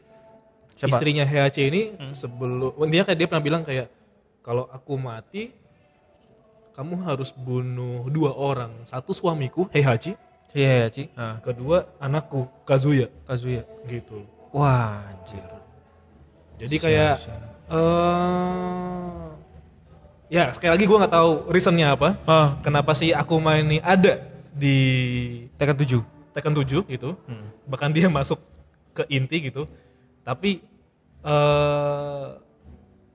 [SPEAKER 2] istrinya HAC ini sebelum oh, dia kayak dia pernah bilang kayak kalau aku mati kamu harus bunuh dua orang. Satu suamiku HAC,
[SPEAKER 3] Iya, iya, Ci. Ah,
[SPEAKER 2] kedua anakku Kazuya
[SPEAKER 3] Kazuya.
[SPEAKER 2] gitu.
[SPEAKER 3] Wah, anjir.
[SPEAKER 2] Jadi kayak eh ya sekali lagi gue nggak tahu reasonnya apa.
[SPEAKER 3] Ah,
[SPEAKER 2] Kenapa sih aku main ini ada di
[SPEAKER 3] Tekken 7.
[SPEAKER 2] Tekken 7 gitu. Bahkan dia masuk ke inti gitu. Tapi eh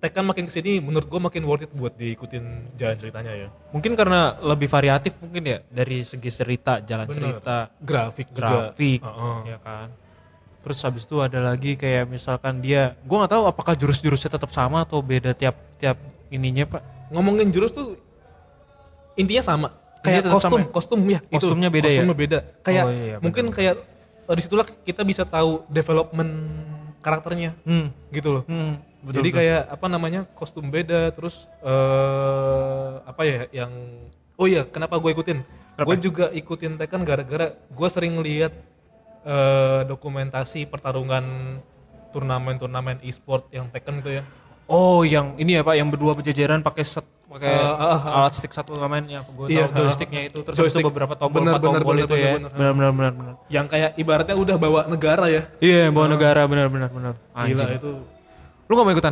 [SPEAKER 2] Tekken makin kesini menurut gue makin worth it buat diikutin jalan ceritanya ya.
[SPEAKER 3] Mungkin karena lebih variatif mungkin ya dari segi cerita, jalan cerita,
[SPEAKER 2] Grafik juga.
[SPEAKER 3] grafik,
[SPEAKER 2] Heeh.
[SPEAKER 3] ya kan. Terus habis itu ada lagi kayak misalkan dia, gua nggak tahu apakah jurus-jurusnya tetap sama atau beda tiap tiap ininya pak?
[SPEAKER 2] Ngomongin jurus tuh intinya sama. Kayak
[SPEAKER 3] tetap
[SPEAKER 2] kostum,
[SPEAKER 3] sama ya?
[SPEAKER 2] kostum ya. itu.
[SPEAKER 3] Kostumnya beda ya?
[SPEAKER 2] Kostumnya beda. Kayak
[SPEAKER 3] Oh, iya,
[SPEAKER 2] mungkin kayak eh, disitulah kita bisa tahu development karakternya
[SPEAKER 3] Hmm,
[SPEAKER 2] gitu loh.
[SPEAKER 3] hmm,
[SPEAKER 2] Jadi kayak apa namanya kostum beda terus eh apa ya yang oh iya kenapa gue ikutin? Gue juga ikutin Tekken gara-gara gue sering lihat eh dokumentasi pertarungan turnamen-turnamen e-sport yang Tekken itu ya.
[SPEAKER 3] Oh, yang ini ya Pak, yang berdua berjejeran pakai set pakai
[SPEAKER 2] Eh, ah, ah,
[SPEAKER 3] alat stick satu main yang gue
[SPEAKER 2] Iya, ah,
[SPEAKER 3] tahu joysticknya itu terus
[SPEAKER 2] Joystick.
[SPEAKER 3] itu beberapa tombol
[SPEAKER 2] Bener,
[SPEAKER 3] empat
[SPEAKER 2] bener,
[SPEAKER 3] tombol
[SPEAKER 2] bener,
[SPEAKER 3] itu
[SPEAKER 2] bener,
[SPEAKER 3] ya.
[SPEAKER 2] bener.
[SPEAKER 3] Benar benar benar benar.
[SPEAKER 2] Yang kayak ibaratnya udah bawa negara ya.
[SPEAKER 3] Iya, yang bawa negara benar benar benar.
[SPEAKER 2] Gila
[SPEAKER 3] Anjing.
[SPEAKER 2] itu.
[SPEAKER 3] Lu gak mau ikutan?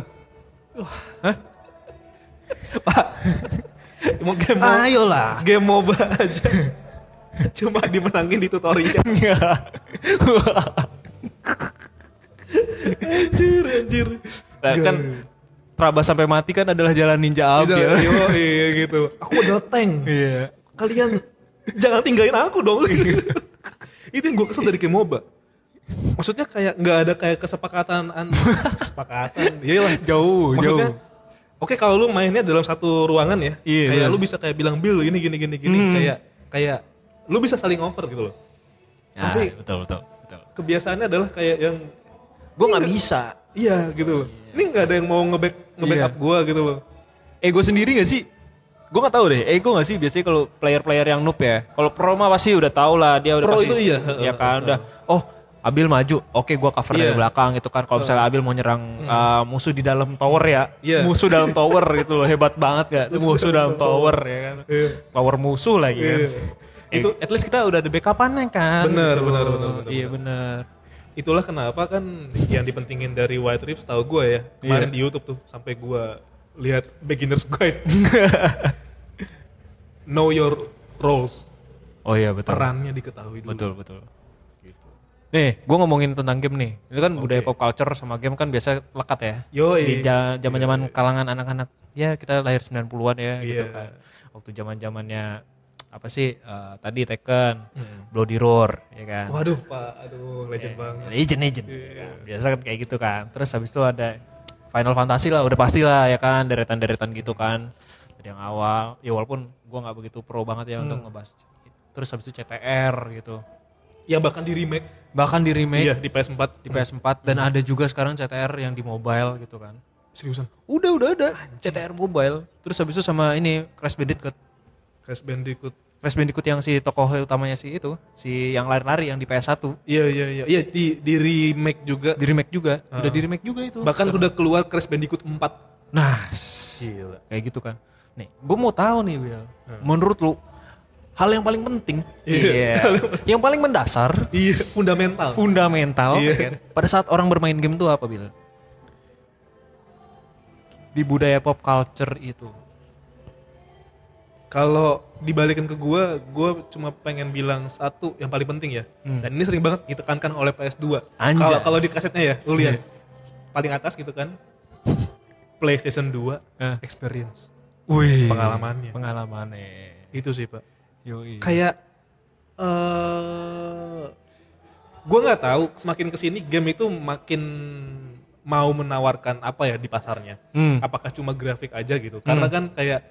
[SPEAKER 2] Mau game
[SPEAKER 3] Ayolah.
[SPEAKER 2] game MOBA aja. Cuma dimenangin di tutorial. anjir, anjir.
[SPEAKER 3] Nah, kan Praba sampai mati kan adalah jalan ninja
[SPEAKER 2] Bisa,
[SPEAKER 3] abdi.
[SPEAKER 2] yo, iya gitu. Aku adalah tank.
[SPEAKER 3] Iya.
[SPEAKER 2] Kalian jangan tinggalin aku dong. itu yang gue kesel dari game MOBA. Maksudnya kayak nggak ada kayak kesepakatan an kesepakatan. Iya Iyalah.
[SPEAKER 3] Jauh,
[SPEAKER 2] Maksudnya Oke kalau lu mainnya dalam satu ruangan ya,
[SPEAKER 3] Iya, Hmm.
[SPEAKER 2] kayak
[SPEAKER 3] bener.
[SPEAKER 2] lu bisa kayak bilang Bill gini gini gini gini, kayak kayak lu bisa saling over gitu loh.
[SPEAKER 4] Ya,
[SPEAKER 2] Tapi
[SPEAKER 4] betul betul betul.
[SPEAKER 2] kebiasaannya adalah kayak yang
[SPEAKER 3] Gue nggak bisa.
[SPEAKER 2] iya gitu loh. Ini nggak ada yang mau ngeback ngebackup
[SPEAKER 3] Iya.
[SPEAKER 2] gua gitu loh.
[SPEAKER 3] Ego sendiri gak sih? Gue gak tahu deh, ego gak sih biasanya kalau player-player yang noob ya. Kalau pro mah pasti udah tau lah, dia udah
[SPEAKER 2] Pro
[SPEAKER 3] pasti.
[SPEAKER 2] itu iya.
[SPEAKER 3] Ya kan, udah. Oh, Abil maju, oke gua cover dari
[SPEAKER 2] Iya. Hmm.
[SPEAKER 3] belakang gitu kan. Kalau misalnya Abil mau nyerang uh, musuh di dalam tower ya,
[SPEAKER 2] Iya.
[SPEAKER 3] musuh dalam tower gitu loh, hebat banget gak? Musuh dalam tower ya kan,
[SPEAKER 2] Iya.
[SPEAKER 3] tower musuh lagi kan.
[SPEAKER 2] Iya.
[SPEAKER 3] Itu, at least kita udah ada backupannya kan.
[SPEAKER 2] Bener,
[SPEAKER 3] gitu.
[SPEAKER 2] bener, bener, bener,
[SPEAKER 3] Iya bener.
[SPEAKER 2] Itulah kenapa kan yang dipentingin dari White Rips tahu gua ya. Kemarin
[SPEAKER 3] Iya.
[SPEAKER 2] di YouTube tuh sampai gua lihat beginner's guide. know your roles.
[SPEAKER 3] Oh iya betul.
[SPEAKER 2] Perannya diketahui dulu.
[SPEAKER 3] Betul betul. Nih, gue ngomongin tentang game nih. Ini kan budaya pop culture sama game kan biasa lekat ya.
[SPEAKER 2] Yoi.
[SPEAKER 3] Di ja- zaman-zaman kalangan anak-anak. Ya, kita lahir 90-an ya gitu
[SPEAKER 2] Iya.
[SPEAKER 3] kan. Waktu zaman-zamannya apa sih? eh, tadi Tekken,
[SPEAKER 2] Hmm.
[SPEAKER 3] Bloody Roar, ya kan.
[SPEAKER 2] Waduh, Pak. Aduh, legend banget.
[SPEAKER 3] Legend, Legend.
[SPEAKER 2] Iya.
[SPEAKER 3] Biasa kan kayak gitu kan. Terus habis itu ada Final Fantasy lah, udah pasti lah ya kan, deretan-deretan gitu kan. Dari yang awal, ya walaupun gua nggak begitu pro banget ya untuk
[SPEAKER 2] Hmm.
[SPEAKER 3] ngebahas. Terus habis itu CTR gitu.
[SPEAKER 2] Ya bahkan di remake.
[SPEAKER 3] Bahkan di remake
[SPEAKER 2] Iya, Hmm. di PS4.
[SPEAKER 3] di PS4 dan ada juga sekarang CTR yang di mobile gitu kan.
[SPEAKER 2] Seriusan.
[SPEAKER 3] Udah udah ada CTR mobile. Terus habis itu sama ini Crash Bandicoot.
[SPEAKER 2] Crash Bandicoot.
[SPEAKER 3] Crash Bandicoot yang si tokoh utamanya si itu, si yang lari-lari yang di PS1
[SPEAKER 2] Iya, iya, iya. Iya, di, di remake juga.
[SPEAKER 3] di remake juga. Udah di remake juga itu.
[SPEAKER 2] Bahkan sudah keluar Crash Bandicoot 4.
[SPEAKER 3] Nah, s-
[SPEAKER 2] Gila.
[SPEAKER 3] kayak gitu kan. Nih, gue mau tahu nih, Will. Menurut lu hal yang paling penting, iya. yang paling mendasar,
[SPEAKER 2] Iya, fundamental.
[SPEAKER 3] fundamental
[SPEAKER 2] Iya.
[SPEAKER 3] ya kan? pada saat orang bermain game itu apa Bil? Di budaya pop culture itu.
[SPEAKER 2] Kalau dibalikin ke gua, gua cuma pengen bilang satu yang paling penting ya. Dan ini sering banget ditekankan oleh PS2.
[SPEAKER 3] Anjas.
[SPEAKER 2] Kalau kalau di kasetnya ya, lu lihat paling atas gitu kan. PlayStation 2
[SPEAKER 1] Eh.
[SPEAKER 2] experience
[SPEAKER 1] Wih.
[SPEAKER 2] pengalamannya.
[SPEAKER 1] Pengalamannya.
[SPEAKER 2] Itu sih, Pak.
[SPEAKER 1] Yoi.
[SPEAKER 2] Kayak eh gua nggak tahu semakin kesini game itu makin mau menawarkan apa ya di pasarnya.
[SPEAKER 1] Hmm.
[SPEAKER 2] Apakah cuma grafik aja gitu? Karena kan kayak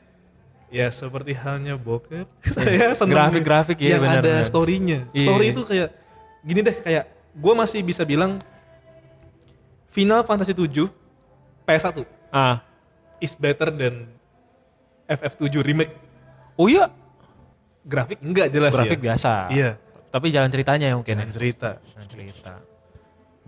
[SPEAKER 2] ya seperti halnya bokep. Saya seneng
[SPEAKER 1] Grafik-grafik, iya,
[SPEAKER 2] yang
[SPEAKER 1] benar,
[SPEAKER 2] ada
[SPEAKER 1] benar.
[SPEAKER 2] story-nya.
[SPEAKER 1] Iya.
[SPEAKER 2] Story itu kayak gini deh kayak gua masih bisa bilang Final Fantasy 7 PS1
[SPEAKER 1] Ah.
[SPEAKER 2] is better than FF7 remake.
[SPEAKER 1] Oh iya,
[SPEAKER 2] Grafik enggak jelas ya.
[SPEAKER 1] grafik biasa.
[SPEAKER 2] Iya.
[SPEAKER 1] Tapi jalan ceritanya mungkin. ya.
[SPEAKER 2] Dan cerita.
[SPEAKER 1] Jalan cerita.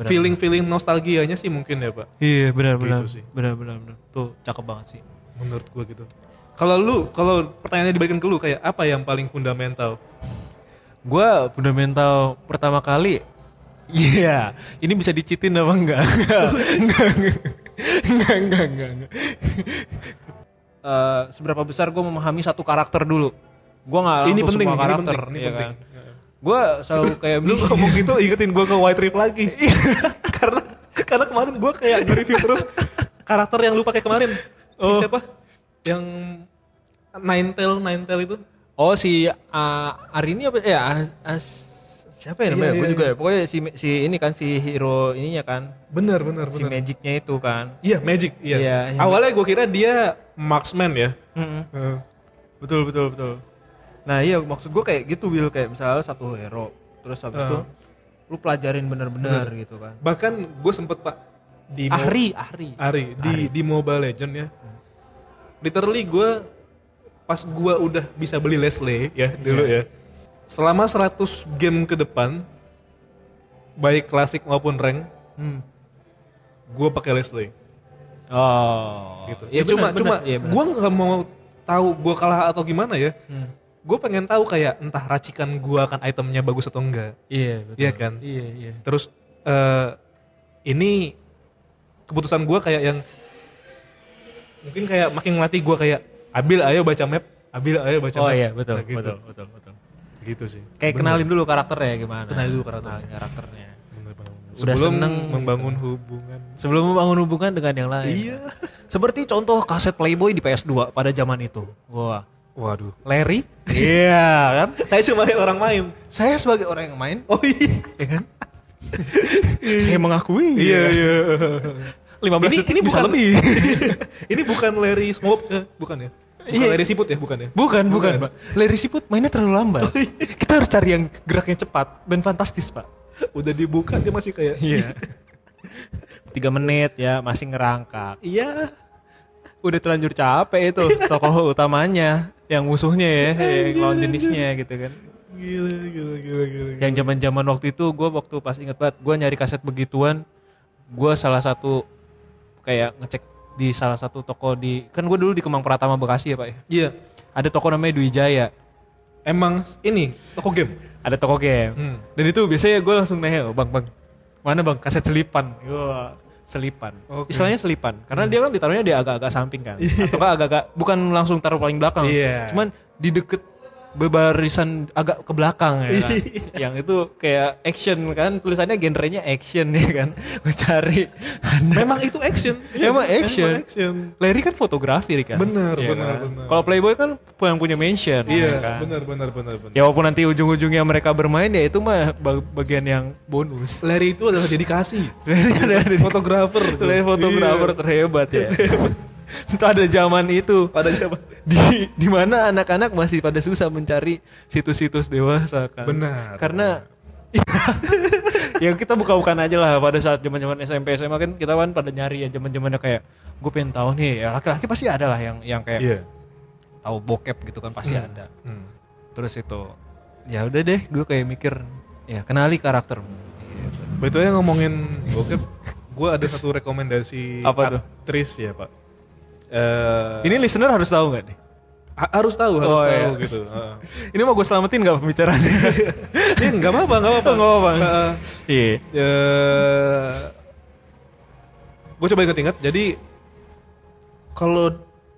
[SPEAKER 2] feeling feeling nostalgianya sih mungkin ya pak
[SPEAKER 1] Iya, benar-benar.
[SPEAKER 2] Gitu sih.
[SPEAKER 1] benar-benar. benar. Tuh, cakep banget sih.
[SPEAKER 2] menurut gua gitu kalau lu kalau pertanyaannya dibalikin ke lu kayak apa yang paling fundamental
[SPEAKER 1] Gua fundamental pertama kali. Iya, ini bisa dicitin apa enggak? enggak, enggak. Enggak, enggak, enggak, enggak.
[SPEAKER 5] Eh, seberapa besar gue memahami satu karakter dulu. Gue nggak langsung
[SPEAKER 2] Ini penting,
[SPEAKER 5] semua
[SPEAKER 2] ini
[SPEAKER 5] karakter,
[SPEAKER 2] penting, ini
[SPEAKER 5] ya
[SPEAKER 2] penting.
[SPEAKER 5] Gue selalu kayak
[SPEAKER 2] iya kan? lu ngomong gitu ingetin gua ke white trip lagi Iya. karena karena kemarin gua kayak nge-review terus karakter yang lu pakai kemarin Si siapa yang nine tail nine tail itu
[SPEAKER 5] Oh si uh, Arini apa ya As- As- siapa ya namanya?
[SPEAKER 2] Iya,
[SPEAKER 5] Gue
[SPEAKER 2] iya,
[SPEAKER 5] juga ya. Pokoknya si si ini kan si hero ininya kan,
[SPEAKER 2] bener bener
[SPEAKER 5] si
[SPEAKER 2] bener
[SPEAKER 5] magicnya itu kan.
[SPEAKER 2] iya magic iya
[SPEAKER 5] Iya, iya.
[SPEAKER 2] awalnya gua kira dia marksman ya
[SPEAKER 5] Mm-mm.
[SPEAKER 2] Heeh.
[SPEAKER 5] Betul betul betul. Nah iya maksud gue kayak gitu Will kayak misalnya satu hero terus habis itu lu pelajarin bener-bener gitu kan.
[SPEAKER 2] bahkan gue sempet pak di Mo-
[SPEAKER 5] Ahri Ahri.
[SPEAKER 1] Ah.
[SPEAKER 2] Ari di di Mobile Legend ya. Literally gue pas gue udah bisa beli Leslie ya dulu ya. Selama 100 game ke depan baik klasik maupun rank
[SPEAKER 5] Hmm.
[SPEAKER 2] gue pakai Leslie
[SPEAKER 5] Oh.
[SPEAKER 2] gitu.
[SPEAKER 5] Iya
[SPEAKER 2] Ya, cuma
[SPEAKER 5] bener,
[SPEAKER 2] cuma
[SPEAKER 5] bener. Iya, bener.
[SPEAKER 2] gue nggak mau tahu gue kalah atau gimana ya. Gue pengen tahu kayak entah racikan gue akan itemnya bagus atau enggak.
[SPEAKER 1] Iya, betul.
[SPEAKER 2] Iya kan?
[SPEAKER 1] Iya, iya.
[SPEAKER 2] Terus eh, ini keputusan gua kayak yang mungkin kayak makin ngelatih gua kayak Abil ayo baca map, Abil ayo baca
[SPEAKER 1] Oh
[SPEAKER 2] map.
[SPEAKER 1] iya, betul,
[SPEAKER 2] Nah, gitu.
[SPEAKER 1] betul, betul, betul.
[SPEAKER 2] Gitu sih.
[SPEAKER 1] Kayak kenalin dulu karakternya gimana.
[SPEAKER 2] Kenalin dulu karakternya.
[SPEAKER 1] Kenalin karakternya.
[SPEAKER 2] Bener, bener, bener.
[SPEAKER 1] Udah
[SPEAKER 2] Sebelum
[SPEAKER 1] seneng gitu.
[SPEAKER 2] membangun hubungan.
[SPEAKER 1] Sebelum membangun hubungan dengan yang lain. Iya. Seperti contoh kaset Playboy di PS2 pada zaman itu. Wah.
[SPEAKER 2] Waduh.
[SPEAKER 1] Larry? Iya kan?
[SPEAKER 2] Saya cuma lihat orang main.
[SPEAKER 1] Saya sebagai orang yang main,
[SPEAKER 2] Oh iya.
[SPEAKER 1] ya kan? Saya mengakui.
[SPEAKER 2] Iya iya.
[SPEAKER 1] 15
[SPEAKER 2] Ini-
[SPEAKER 1] detik
[SPEAKER 2] ini
[SPEAKER 1] bisa
[SPEAKER 2] bukan-
[SPEAKER 1] lebih.
[SPEAKER 2] ini bukan Larry Smoke, eh, bukan ya? Bukan
[SPEAKER 1] Iya.
[SPEAKER 2] Larry Siput ya, bukan ya?
[SPEAKER 1] bukan, bukan, Pak. Larry Siput mainnya terlalu lambat. Kita harus cari yang geraknya cepat dan fantastis, Pak.
[SPEAKER 2] Udah dibuka dia masih kayak
[SPEAKER 1] Iya. Tiga menit ya masih ngerangkak.
[SPEAKER 2] iya.
[SPEAKER 1] udah terlanjur capek itu tokoh utamanya yang musuhnya ya
[SPEAKER 2] Iya,
[SPEAKER 1] yang lawan jenisnya gitu kan
[SPEAKER 2] Gila gila gila gila.
[SPEAKER 1] yang zaman zaman waktu itu gue waktu pas inget banget gue nyari kaset begituan gue salah satu kayak ngecek di salah satu toko di kan gue dulu di Kemang Pratama Bekasi ya pak ya
[SPEAKER 2] Iya.
[SPEAKER 1] ada toko namanya Dwi Jaya
[SPEAKER 2] Emang ini toko game.
[SPEAKER 1] ada toko game
[SPEAKER 2] Hmm.
[SPEAKER 1] dan itu biasanya gue langsung nanya "Oh, bang bang mana bang kaset selipan Wah, selipan
[SPEAKER 2] Oke.
[SPEAKER 1] istilahnya selipan karena dia kan ditaruhnya di agak-agak samping kan atau nggak agak-agak bukan langsung taruh paling belakang
[SPEAKER 2] Iya.
[SPEAKER 1] cuman di deket bebarisan agak ke belakang ya kan? yang itu kayak action kan tulisannya genrenya action ya kan Gua cari ada
[SPEAKER 2] Memang itu action. Iya,
[SPEAKER 1] emang action.
[SPEAKER 2] Emang action.
[SPEAKER 1] Larry kan fotografi kan
[SPEAKER 2] Bener,
[SPEAKER 1] Iya
[SPEAKER 2] bener,
[SPEAKER 1] kan?
[SPEAKER 2] bener.
[SPEAKER 1] kalau Playboy kan yang punya mention
[SPEAKER 2] Iya,
[SPEAKER 1] ya kan?
[SPEAKER 2] benar benar benar benar.
[SPEAKER 1] Ya walaupun nanti ujung-ujungnya mereka bermain ya itu mah ba- bagian yang bonus.
[SPEAKER 2] Larry itu adalah dedikasi. Fotografer. Iya,
[SPEAKER 1] Oleh fotografer terhebat ya. itu ada zaman itu
[SPEAKER 2] Pada siapa?
[SPEAKER 1] di di mana anak-anak masih pada susah mencari situs-situs dewasa kan.
[SPEAKER 2] Benar.
[SPEAKER 1] Karena ya kita buka-bukaan aja lah pada saat zaman-zaman SMP SMA kan kita kan pada nyari ya zaman-zamannya kayak gue pengen tahu nih ya laki-laki pasti ada lah yang yang kayak
[SPEAKER 2] Iya.
[SPEAKER 1] tahu bokep gitu kan pasti ada. Terus itu ya udah deh gue kayak mikir ya kenali karaktermu. Gitu.
[SPEAKER 2] Betulnya ngomongin bokep, gue ada satu rekomendasi
[SPEAKER 1] Apa tuh?
[SPEAKER 2] aktris ya pak. Eh,
[SPEAKER 1] Ini listener harus tahu nggak nih?
[SPEAKER 2] ha- harus tahu, harus
[SPEAKER 1] Oh,
[SPEAKER 2] tahu
[SPEAKER 1] iya.
[SPEAKER 2] gitu. Heeh.
[SPEAKER 1] Ini mau gue selamatin nggak pembicaraannya?
[SPEAKER 2] Ini nggak apa-apa, nggak apa-apa, nggak apa-apa.
[SPEAKER 1] Iya.
[SPEAKER 2] gue Eh, coba inget-inget. Jadi kalau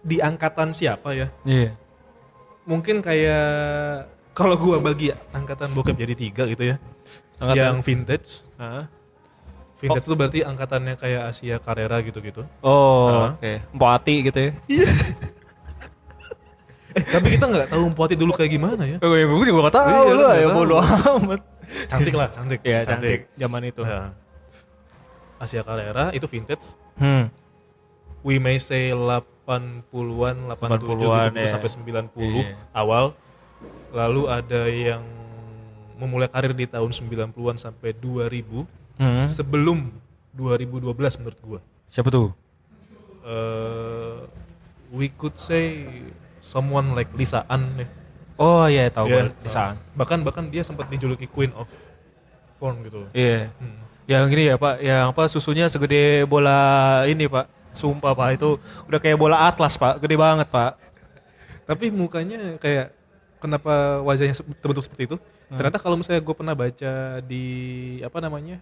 [SPEAKER 2] di angkatan siapa ya?
[SPEAKER 1] Iya.
[SPEAKER 2] mungkin kayak kalau gua bagi angkatan bokep jadi tiga gitu ya.
[SPEAKER 1] Angkatan-
[SPEAKER 2] Yang vintage, Vintage itu berarti angkatannya kayak Asia Carrera gitu-gitu.
[SPEAKER 1] Oh, oke. Empok hati gitu ya.
[SPEAKER 2] Eh, tapi kita nggak tahu Mpoati dulu kayak gimana ya.
[SPEAKER 1] Gue gue juga gak
[SPEAKER 2] Iya,
[SPEAKER 1] tahu
[SPEAKER 2] lu
[SPEAKER 1] lah
[SPEAKER 2] nggak
[SPEAKER 1] ya
[SPEAKER 2] tahu.
[SPEAKER 1] bodo amat.
[SPEAKER 2] Cantik lah, cantik.
[SPEAKER 1] Iya, cantik zaman itu.
[SPEAKER 2] Nah, Asia Carrera itu vintage.
[SPEAKER 1] Hmm.
[SPEAKER 2] We may say 80-an, 87 gitu,
[SPEAKER 1] 80-an,
[SPEAKER 2] gitu,
[SPEAKER 1] ya.
[SPEAKER 2] sampai 90
[SPEAKER 1] Iya.
[SPEAKER 2] awal. Lalu ada yang memulai karir di tahun 90-an sampai 2000
[SPEAKER 1] Hmm.
[SPEAKER 2] sebelum 2012 menurut gua.
[SPEAKER 1] Siapa tuh?
[SPEAKER 2] Eh, we could say someone like Lisa Ann nih.
[SPEAKER 1] Oh iya tahu
[SPEAKER 2] Iya.
[SPEAKER 1] gue di sana.
[SPEAKER 2] Bahkan bahkan dia sempat dijuluki Queen of Porn gitu. loh.
[SPEAKER 1] Iya. Yang gini ya Pak, yang apa susunya segede bola ini Pak. Sumpah Pak itu udah kayak bola atlas Pak, gede banget Pak.
[SPEAKER 2] Tapi mukanya kayak kenapa wajahnya se- terbentuk seperti itu? Ternyata kalau misalnya gue pernah baca di apa namanya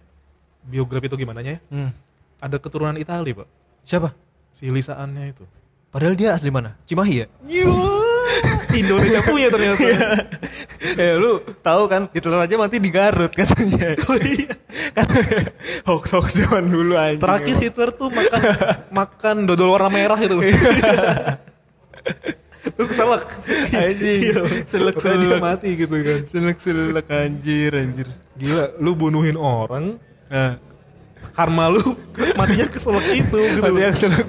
[SPEAKER 2] biografi itu gimana ya?
[SPEAKER 1] Hmm.
[SPEAKER 2] Ada keturunan Italia pak.
[SPEAKER 1] Siapa?
[SPEAKER 2] Si Lisa Ann-nya itu.
[SPEAKER 1] Padahal dia asli mana? Cimahi ya?
[SPEAKER 2] Indonesia punya ternyata.
[SPEAKER 1] Iya. eh lu tahu kan Hitler aja mati di Garut
[SPEAKER 2] kan?
[SPEAKER 1] katanya. Oh iya. hoax hoax zaman dulu aja.
[SPEAKER 2] Terakhir Hitler tuh makan makan dodol warna merah itu. Terus keselak. Iya.
[SPEAKER 1] anjing. selek
[SPEAKER 2] Makanya dia
[SPEAKER 1] selek.
[SPEAKER 2] mati gitu kan.
[SPEAKER 1] Selek selek anjir anjir.
[SPEAKER 2] Gila, lu bunuhin orang,
[SPEAKER 1] Nah,
[SPEAKER 2] karma lu matinya keselak itu gitu.
[SPEAKER 1] mati yang selek.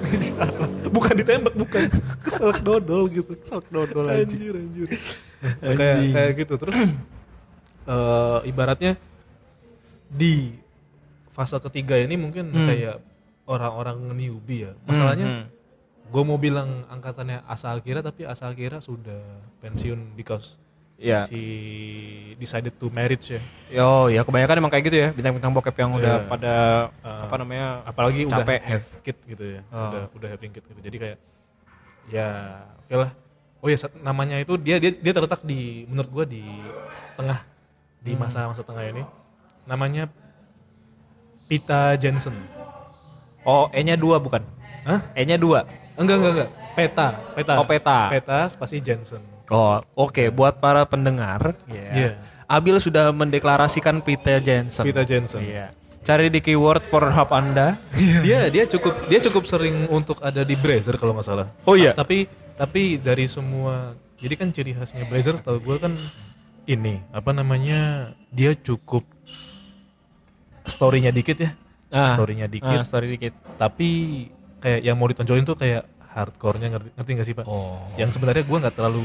[SPEAKER 2] bukan ditembak, bukan. Keselak dodol gitu. Keselak dodol anjir. anjir. Nah, kayak,
[SPEAKER 1] Anjing.
[SPEAKER 2] kayak gitu. Terus eh, ibaratnya di fase ketiga ini mungkin kayak orang-orang newbie ya. Masalahnya gue mau bilang angkatannya Asa Akira tapi Asa Akira sudah pensiun because
[SPEAKER 1] Iya.
[SPEAKER 2] si decided to marriage ya.
[SPEAKER 1] Yo, ya kebanyakan emang kayak gitu ya bintang-bintang bokep yang udah
[SPEAKER 2] Iya.
[SPEAKER 1] pada
[SPEAKER 2] Eh,
[SPEAKER 1] apa namanya?
[SPEAKER 2] apalagi
[SPEAKER 1] Capek. Oh.
[SPEAKER 2] udah have kid gitu ya udah udah having kid gitu jadi kayak ya oke lah oh ya sat- namanya itu dia dia dia terletak di menurut gua di tengah di
[SPEAKER 1] Hmm.
[SPEAKER 2] masa-masa tengah ini namanya Pita Jensen
[SPEAKER 1] Oh, E-nya dua bukan?
[SPEAKER 2] Hah?
[SPEAKER 1] E-nya dua.
[SPEAKER 2] enggak enggak enggak peta peta
[SPEAKER 1] Oh, Peta.
[SPEAKER 2] peta spasi Jensen
[SPEAKER 1] Oh, oke buat para pendengar,
[SPEAKER 2] Iya.
[SPEAKER 1] Abil sudah mendeklarasikan Peter Jensen.
[SPEAKER 2] Pita Jensen
[SPEAKER 1] Cari di keyword Pornhub Anda.
[SPEAKER 2] dia dia cukup dia cukup sering untuk ada di Brazzer kalau nggak salah.
[SPEAKER 1] Oh iya.
[SPEAKER 2] Ta- Tapi tapi dari semua jadi kan ciri khasnya Brazzer setahu gue kan ini apa namanya dia cukup storynya dikit ya.
[SPEAKER 1] Ah.
[SPEAKER 2] Storynya dikit.
[SPEAKER 1] Ah, story dikit.
[SPEAKER 2] Tapi kayak yang mau ditonjolin tuh kayak hardcore-nya ngerti ngerti nggak sih pak?
[SPEAKER 1] Oh.
[SPEAKER 2] Yang sebenarnya gue nggak terlalu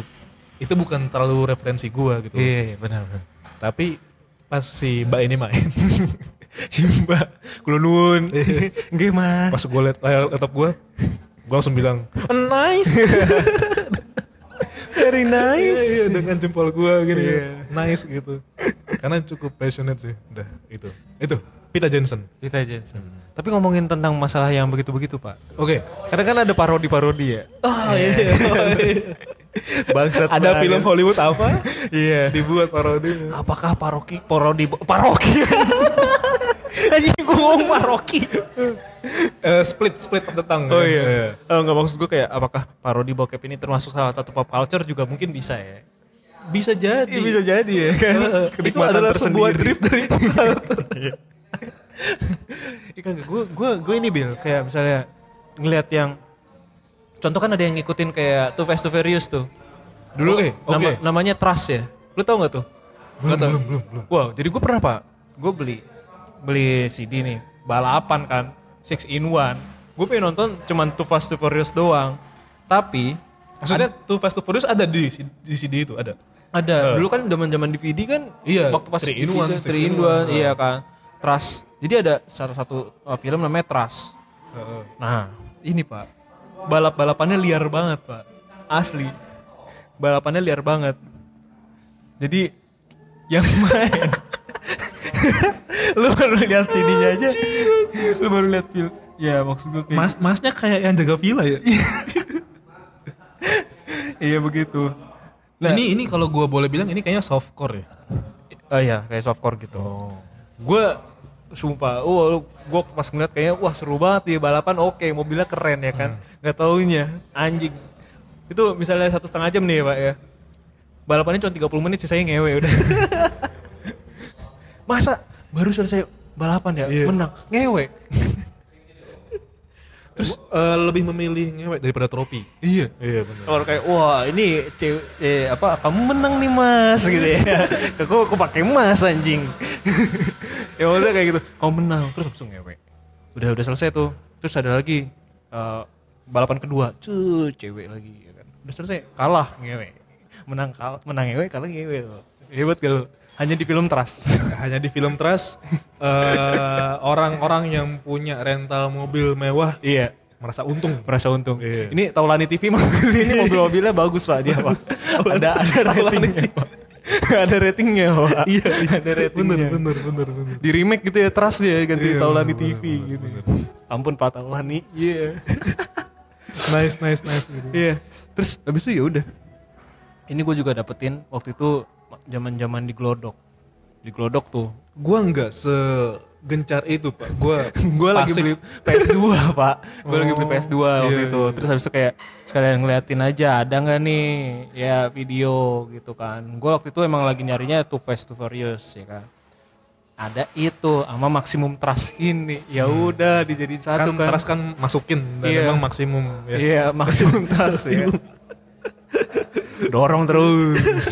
[SPEAKER 2] itu bukan terlalu referensi gue gitu.
[SPEAKER 1] Iya, benar. benar.
[SPEAKER 2] Tapi pas si mbak ini main
[SPEAKER 1] Simba, kula nuwun. Nggih, Mas.
[SPEAKER 2] pas gue liat layar laptop gue gue langsung bilang nice
[SPEAKER 1] Very nice.
[SPEAKER 2] Iya, iya, dengan jempol gua gini. Nice gitu. Karena cukup passionate sih. Udah, itu. Itu Pita Jensen.
[SPEAKER 1] Peter Jensen. Tapi ngomongin tentang masalah yang begitu-begitu, Pak.
[SPEAKER 2] Oke.
[SPEAKER 1] Karena kan ada parodi-parodi ya.
[SPEAKER 2] Oh iya.
[SPEAKER 1] Bangsat.
[SPEAKER 2] Ada
[SPEAKER 1] banget.
[SPEAKER 2] film Hollywood apa?
[SPEAKER 1] Iya.
[SPEAKER 2] dibuat parodi.
[SPEAKER 1] Apakah paroki parodi paroki? Anjing gue ngomong paroki.
[SPEAKER 2] Eh, split split of the tongue. ya.
[SPEAKER 1] Oh iya. Eh, nggak maksud gue kayak apakah parodi bokep ini termasuk salah satu pop culture juga mungkin bisa ya.
[SPEAKER 2] Bisa jadi.
[SPEAKER 1] jadi ya kan.
[SPEAKER 2] itu adalah sebuah drift dari
[SPEAKER 1] Iya. Ikan gue gue gue ini Bill kayak misalnya ngelihat yang contoh kan ada yang ngikutin kayak Too Fast Too Furious tuh.
[SPEAKER 2] Dulu oke.
[SPEAKER 1] Nama- namanya Trust ya. Lu tau nggak tuh? Belum, belum, belum, Wow, jadi gue pernah pak, gue beli beli CD nih, balapan kan, six in one. Gue pengen nonton cuman Too Fast Too Furious doang. Tapi
[SPEAKER 2] Maksudnya Too Fast Too Furious ada di C- di CD itu ada.
[SPEAKER 1] ada dulu kan zaman-zaman DVD kan,
[SPEAKER 2] Iya,
[SPEAKER 1] waktu pas
[SPEAKER 2] three in
[SPEAKER 1] DVD,
[SPEAKER 2] one, six
[SPEAKER 1] three
[SPEAKER 2] in
[SPEAKER 1] in
[SPEAKER 2] one,
[SPEAKER 1] one, iya kan, Trust. Jadi ada salah satu uh, film namanya Trust. Nah, ini pak, balap-balapannya liar banget pak, asli. Balapannya liar banget. Jadi yang main, lu baru lihat tidinya aja, lu baru lihat film. Ya maksud gue kayak,
[SPEAKER 2] Mas masnya kayak yang jaga villa ya.
[SPEAKER 1] iya begitu.
[SPEAKER 2] Nah, ini ini kalau gua boleh bilang ini kayaknya softcore ya.
[SPEAKER 1] Oh iya, kayak softcore gitu.
[SPEAKER 2] Oh.
[SPEAKER 1] Gue sumpah, oh gue pas ngeliat kayaknya wah seru banget ya balapan, oke mobilnya keren ya kan, nggak taunya anjing. Itu misalnya satu setengah jam nih ya pak ya, balapannya cuma 30 menit sisanya ngewe udah. Masa baru selesai balapan ya
[SPEAKER 2] Iya.
[SPEAKER 1] menang ngewe
[SPEAKER 2] Terus eh, lebih memilih ngewek daripada tropi.
[SPEAKER 1] iya
[SPEAKER 2] Iya benar.
[SPEAKER 1] kalau kayak wah ini cewek eh, apa kamu menang nih mas gitu ya aku aku pakai mas anjing ya udah kayak gitu kamu menang terus langsung ngewe udah udah selesai tuh terus ada lagi eh, balapan kedua cuy cewek lagi ya kan. udah selesai kalah ngewe menang kalah menang ngewe kalah ngewe tuh. hebat gak lu hanya di film trust
[SPEAKER 2] Hanya di film Trust eh, orang-orang yang punya rental mobil mewah
[SPEAKER 1] iya
[SPEAKER 2] merasa untung.
[SPEAKER 1] merasa untung.
[SPEAKER 2] Iya.
[SPEAKER 1] Ini Taulani TV mah ini mobil-mobilnya bagus Pak dia Pak. ada ada ratingnya. Pak. ada ratingnya Pak. Iya, ada ratingnya.
[SPEAKER 2] bener, bener, bener.
[SPEAKER 1] Di remake gitu ya trust dia
[SPEAKER 2] Iya,
[SPEAKER 1] ganti Taulani
[SPEAKER 2] bener,
[SPEAKER 1] TV gitu. Ampun Pak Taulani. Iya.
[SPEAKER 2] Nice, nice, nice. Gitu.
[SPEAKER 1] Iya. Terus habis itu ya udah.
[SPEAKER 5] Ini gue juga dapetin waktu itu zaman-zaman di Glodok. Di Glodok tuh.
[SPEAKER 2] Gua nggak segencar itu pak. Gua
[SPEAKER 1] Gue lagi
[SPEAKER 2] pasif.
[SPEAKER 1] beli Oh, PS2 Pak. Gue lagi beli PS2 waktu
[SPEAKER 2] iya,
[SPEAKER 1] itu. Terus habis itu kayak sekalian ngeliatin aja ada nggak nih ya video gitu kan. Gue waktu itu emang lagi nyarinya Too Fast Too Furious ya kan. Ada itu sama maksimum trust ini. Ya udah dijadiin
[SPEAKER 2] kan,
[SPEAKER 1] satu kan.
[SPEAKER 2] Trust kan masukin dan
[SPEAKER 1] Iya.
[SPEAKER 2] emang maksimum. Ya.
[SPEAKER 1] Iya, maksimum trust ya. Dorong terus.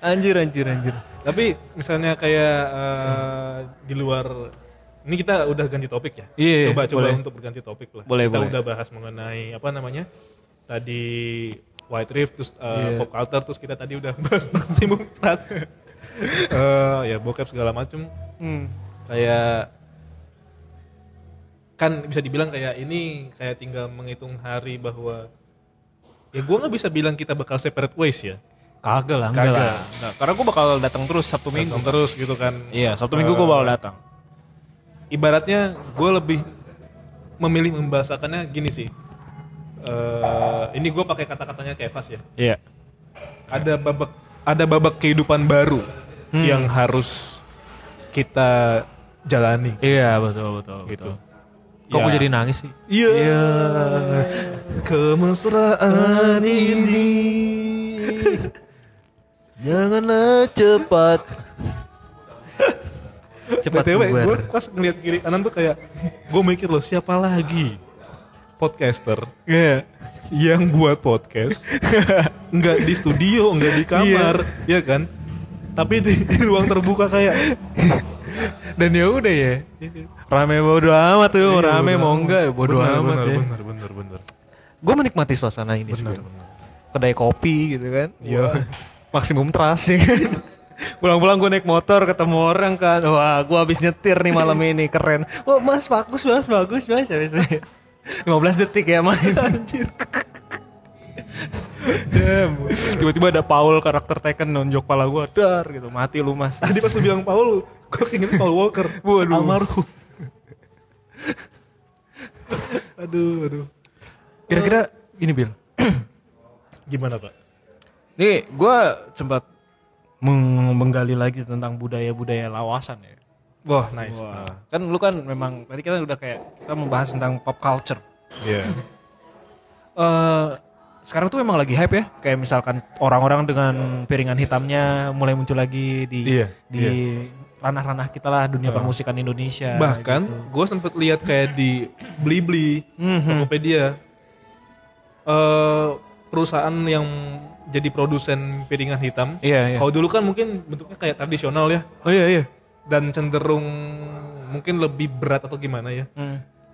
[SPEAKER 1] anjir anjir anjir.
[SPEAKER 2] Tapi misalnya kayak eh, di luar ini kita udah ganti topik ya.
[SPEAKER 1] Iya, iya,
[SPEAKER 2] coba coba
[SPEAKER 1] boleh.
[SPEAKER 2] untuk berganti topik lah.
[SPEAKER 1] Boleh,
[SPEAKER 2] kita
[SPEAKER 1] boleh.
[SPEAKER 2] udah bahas mengenai apa namanya? Tadi White Rift terus
[SPEAKER 1] Iya.
[SPEAKER 2] eh, pop culture terus kita tadi udah bahas maksimum trust. Eh, ya bokep segala macem
[SPEAKER 1] Hmm.
[SPEAKER 2] kayak kan bisa dibilang kayak ini kayak tinggal menghitung hari bahwa ya gua nggak bisa bilang kita bakal separate ways ya
[SPEAKER 1] Kagak lah, enggak
[SPEAKER 2] Kagak.
[SPEAKER 1] lah. Enggak, karena gue bakal datang terus Sabtu Minggu.
[SPEAKER 2] Datang terus gitu kan
[SPEAKER 1] Iya, Sabtu Minggu gue bakal datang.
[SPEAKER 2] ibaratnya gue lebih memilih membahasakannya gini sih Eh, ini gue pakai kata-katanya Kevas ya
[SPEAKER 1] Iya.
[SPEAKER 2] ada babak ada babak kehidupan baru
[SPEAKER 1] Hmm.
[SPEAKER 2] yang harus kita jalani
[SPEAKER 6] Iya betul betul
[SPEAKER 2] gitu
[SPEAKER 6] Kok gue
[SPEAKER 2] Ya.
[SPEAKER 6] jadi nangis sih?
[SPEAKER 2] Iya. Kemesraan ini.
[SPEAKER 1] Janganlah cepat.
[SPEAKER 2] Cepat BTW, gue pas ngeliat kiri kanan tuh kayak gue mikir loh siapa lagi podcaster
[SPEAKER 1] Iya.
[SPEAKER 2] yang buat podcast nggak di studio nggak di kamar ya kan tapi di, di ruang terbuka kayak
[SPEAKER 1] Dan ya udah ya. Rame bodo amat tuh,
[SPEAKER 2] Iya,
[SPEAKER 1] rame
[SPEAKER 2] bodo
[SPEAKER 1] mau
[SPEAKER 2] amat.
[SPEAKER 1] enggak ya bodo
[SPEAKER 2] Bener,
[SPEAKER 1] amat
[SPEAKER 2] bener,
[SPEAKER 1] ya.
[SPEAKER 2] bener bener bener
[SPEAKER 1] Gue menikmati suasana ini sebenarnya. Kedai kopi gitu kan.
[SPEAKER 2] Iya.
[SPEAKER 1] Wah, Maksimum trust ya kan. Pulang-pulang gue naik motor ketemu orang kan. Wah, gue habis nyetir nih malam ini, keren. Wah, Mas bagus, Mas bagus, Mas. Habis itu 15 detik ya main anjir. Damn. Tiba-tiba ada Paul karakter Tekken nonjok pala gue, dar gitu. Mati lu, Mas.
[SPEAKER 2] tadi pas lu bilang Paul gue keinget Paul Walker
[SPEAKER 1] Waduh.
[SPEAKER 2] almarhum aduh aduh
[SPEAKER 1] Kira-kira ini Bil.
[SPEAKER 2] gimana pak
[SPEAKER 5] Nih gue sempat
[SPEAKER 1] Meng- menggali lagi tentang budaya-budaya lawasan ya.
[SPEAKER 2] wah nice
[SPEAKER 1] Wah, kan lu kan memang tadi kita udah kayak kita membahas tentang pop culture.
[SPEAKER 2] Iya.
[SPEAKER 1] Eh sekarang tuh memang lagi hype ya. Kayak misalkan orang-orang dengan piringan hitamnya mulai muncul lagi di
[SPEAKER 2] Iya,
[SPEAKER 1] di ranah-ranah kita lah dunia permusikan Indonesia.
[SPEAKER 2] Bahkan gue sempet lihat kayak di Blibli, Mhm. Tokopedia, eh, perusaaan yang jadi produsen piringan hitam.
[SPEAKER 1] Iya, iya.
[SPEAKER 2] Kalau dulu kan mungkin bentuknya kayak tradisional ya,
[SPEAKER 1] Oh iya iya.
[SPEAKER 2] dan cenderung mungkin lebih berat atau gimana ya.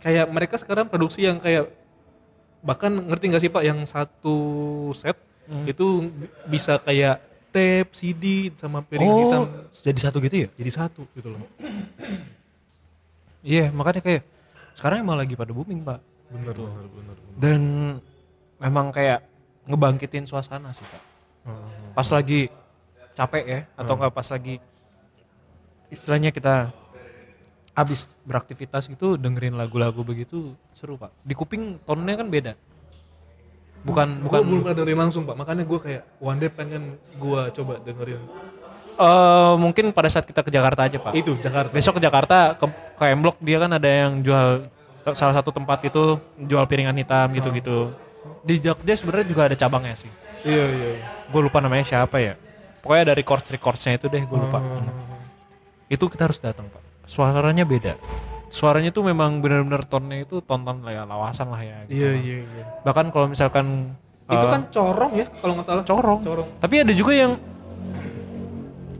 [SPEAKER 2] Kayak mereka sekarang produksi yang kayak bahkan ngerti nggak sih pak yang satu set itu bisa kayak tape, CD sama piringan
[SPEAKER 1] Oh.
[SPEAKER 2] hitam
[SPEAKER 1] jadi satu gitu ya?
[SPEAKER 2] jadi satu gitu loh.
[SPEAKER 1] Iya, makanya kayak sekarang emang lagi pada booming, Pak.
[SPEAKER 2] Bener, bener, bener.
[SPEAKER 1] Dan memang kayak ngebangkitin suasana sih, Pak. Pas lagi capek ya atau enggak pas lagi istilahnya kita habis beraktivitas gitu dengerin lagu-lagu begitu seru, Pak. Di kuping tonnya kan beda. Bukan
[SPEAKER 2] Gue
[SPEAKER 1] bukan
[SPEAKER 2] belum pernah dengerin langsung pak, makanya gue kayak one day pengen gue coba dengerin
[SPEAKER 1] eh, mungkin pada saat kita ke Jakarta aja, Pak.
[SPEAKER 2] itu Jakarta.
[SPEAKER 1] Besok ke Jakarta ke ke M Block dia kan ada yang jual te- salah satu tempat itu jual piringan hitam gitu-gitu. Di Jogja sebenarnya juga ada cabangnya sih.
[SPEAKER 2] Iya iya. Hmm.
[SPEAKER 1] Gue lupa namanya siapa ya. Pokoknya dari records recordsnya itu deh gue lupa.
[SPEAKER 3] itu kita harus datang pak suaranya beda suaranya tuh memang benar-benar tonnya itu tonton lah ya lawasan lah ya gitu
[SPEAKER 2] Iya
[SPEAKER 3] lah.
[SPEAKER 2] iya iya.
[SPEAKER 3] bahkan kalau misalkan
[SPEAKER 2] Itu
[SPEAKER 3] eh,
[SPEAKER 2] kan corong ya kalau nggak salah.
[SPEAKER 3] corong.
[SPEAKER 2] Corong.
[SPEAKER 3] Tapi ada juga yang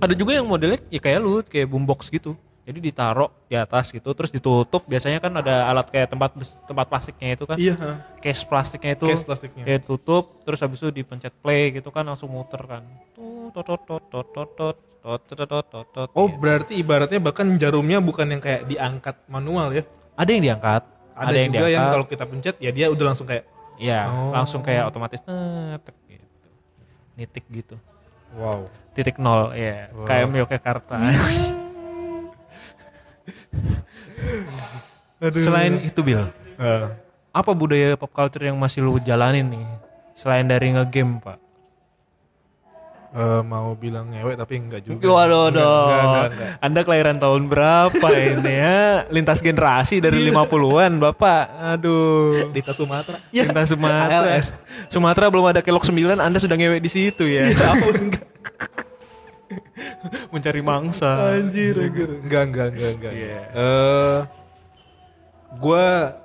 [SPEAKER 3] ada juga yang modelnya ya kayak lu kayak boombox gitu. Jadi ditaruh di atas gitu terus ditutup. Biasanya kan ada alat kayak tempat bes- tempat plastiknya itu kan.
[SPEAKER 2] Iya. ha.
[SPEAKER 3] Case plastiknya itu.
[SPEAKER 2] Case plastiknya.
[SPEAKER 3] Ya tutup terus habis itu dipencet play gitu kan langsung muter kan. Tut, tot, tot, tot, tot, tot, tot, tot, tot, tot, tot, tot.
[SPEAKER 2] Oh berarti ibaratnya bahkan jarumnya bukan yang kayak diangkat manual ya.
[SPEAKER 3] ada yang diangkat.
[SPEAKER 2] Ada, juga yang kalau kita pencet ya dia udah langsung kayak
[SPEAKER 3] ya
[SPEAKER 2] Oh.
[SPEAKER 3] langsung kayak otomatis eh, tek gitu. Nitik gitu.
[SPEAKER 2] wow.
[SPEAKER 3] titik nol ya kayak Yogyakarta selain itu Bill
[SPEAKER 2] Eh,
[SPEAKER 3] apa budaya pop culture yang masih lu jalanin nih selain dari ngegame pak
[SPEAKER 2] Eh, mau bilang ngewek tapi enggak juga. Enggak,
[SPEAKER 3] Waduh,
[SPEAKER 2] enggak, enggak, enggak.
[SPEAKER 3] Anda kelahiran tahun berapa ini ya? Lintas generasi dari 50-an, Bapak. Aduh.
[SPEAKER 2] Dita Sumatera.
[SPEAKER 3] Lintas Sumatera.
[SPEAKER 2] ALS.
[SPEAKER 3] Sumatera belum ada kelok 9, Anda sudah ngewek di situ ya. Mencari mangsa.
[SPEAKER 2] Anjir, anjir. Enggak, enggak, enggak, enggak. Eh, gua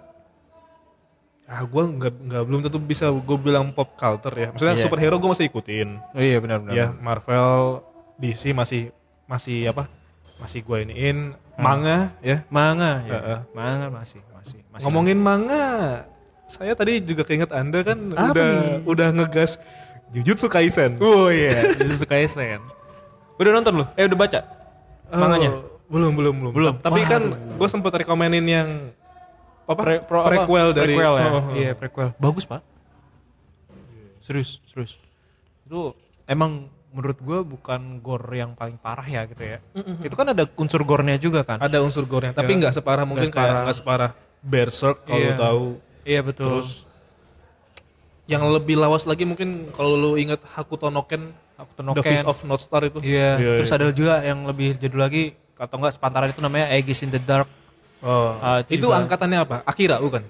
[SPEAKER 2] ah gua enggak, enggak belum tentu bisa gue bilang pop culture ya. Maksudnya superhero gue masih ikutin.
[SPEAKER 5] Oh iya benar-benar.
[SPEAKER 2] Ya, Marvel, DC masih masih apa? Masih gua iniin manga ya.
[SPEAKER 3] Manga ya.
[SPEAKER 2] Heeh.
[SPEAKER 3] Manga masih, masih, masih.
[SPEAKER 2] Ngomongin manga, saya tadi juga keinget Anda kan udah udah ngegas Jujutsu Kaisen.
[SPEAKER 3] Oh iya, Jujutsu Kaisen. Udah nonton lu? Eh udah baca?
[SPEAKER 2] Eh,
[SPEAKER 3] Manganya?
[SPEAKER 2] belum, belum, belum.
[SPEAKER 3] Belum.
[SPEAKER 2] Ta- Tapi kan gue sempet rekomenin yang apa?
[SPEAKER 3] Pre- pro- apa?
[SPEAKER 2] prequel dari
[SPEAKER 3] Prequel ya.
[SPEAKER 2] Oh, oh, oh.
[SPEAKER 3] Iya, prequel. Bagus, Pak. Serius, serius. Itu emang menurut gua bukan gore yang paling parah ya gitu ya. Itu kan ada unsur gore-nya juga kan?
[SPEAKER 2] Ada unsur gore tapi
[SPEAKER 3] Iya.
[SPEAKER 2] nggak separah mungkin
[SPEAKER 3] separah.
[SPEAKER 2] kayak nggak separah Berserk kalau
[SPEAKER 3] Iya.
[SPEAKER 2] lu tahu.
[SPEAKER 3] Iya, betul.
[SPEAKER 2] Terus yang lebih lawas lagi mungkin kalau lu inget Hakuto no Ken,
[SPEAKER 3] Hakuto no
[SPEAKER 2] The
[SPEAKER 3] Ken.
[SPEAKER 2] Fist of North Star itu.
[SPEAKER 3] Iya, terus
[SPEAKER 2] iya.
[SPEAKER 3] ada juga yang lebih jadul lagi atau enggak sepantaran itu namanya Aegis in the Dark.
[SPEAKER 2] Oh.
[SPEAKER 3] Ah,
[SPEAKER 2] itu
[SPEAKER 3] juga-
[SPEAKER 2] angkatannya apa? Akira bukan?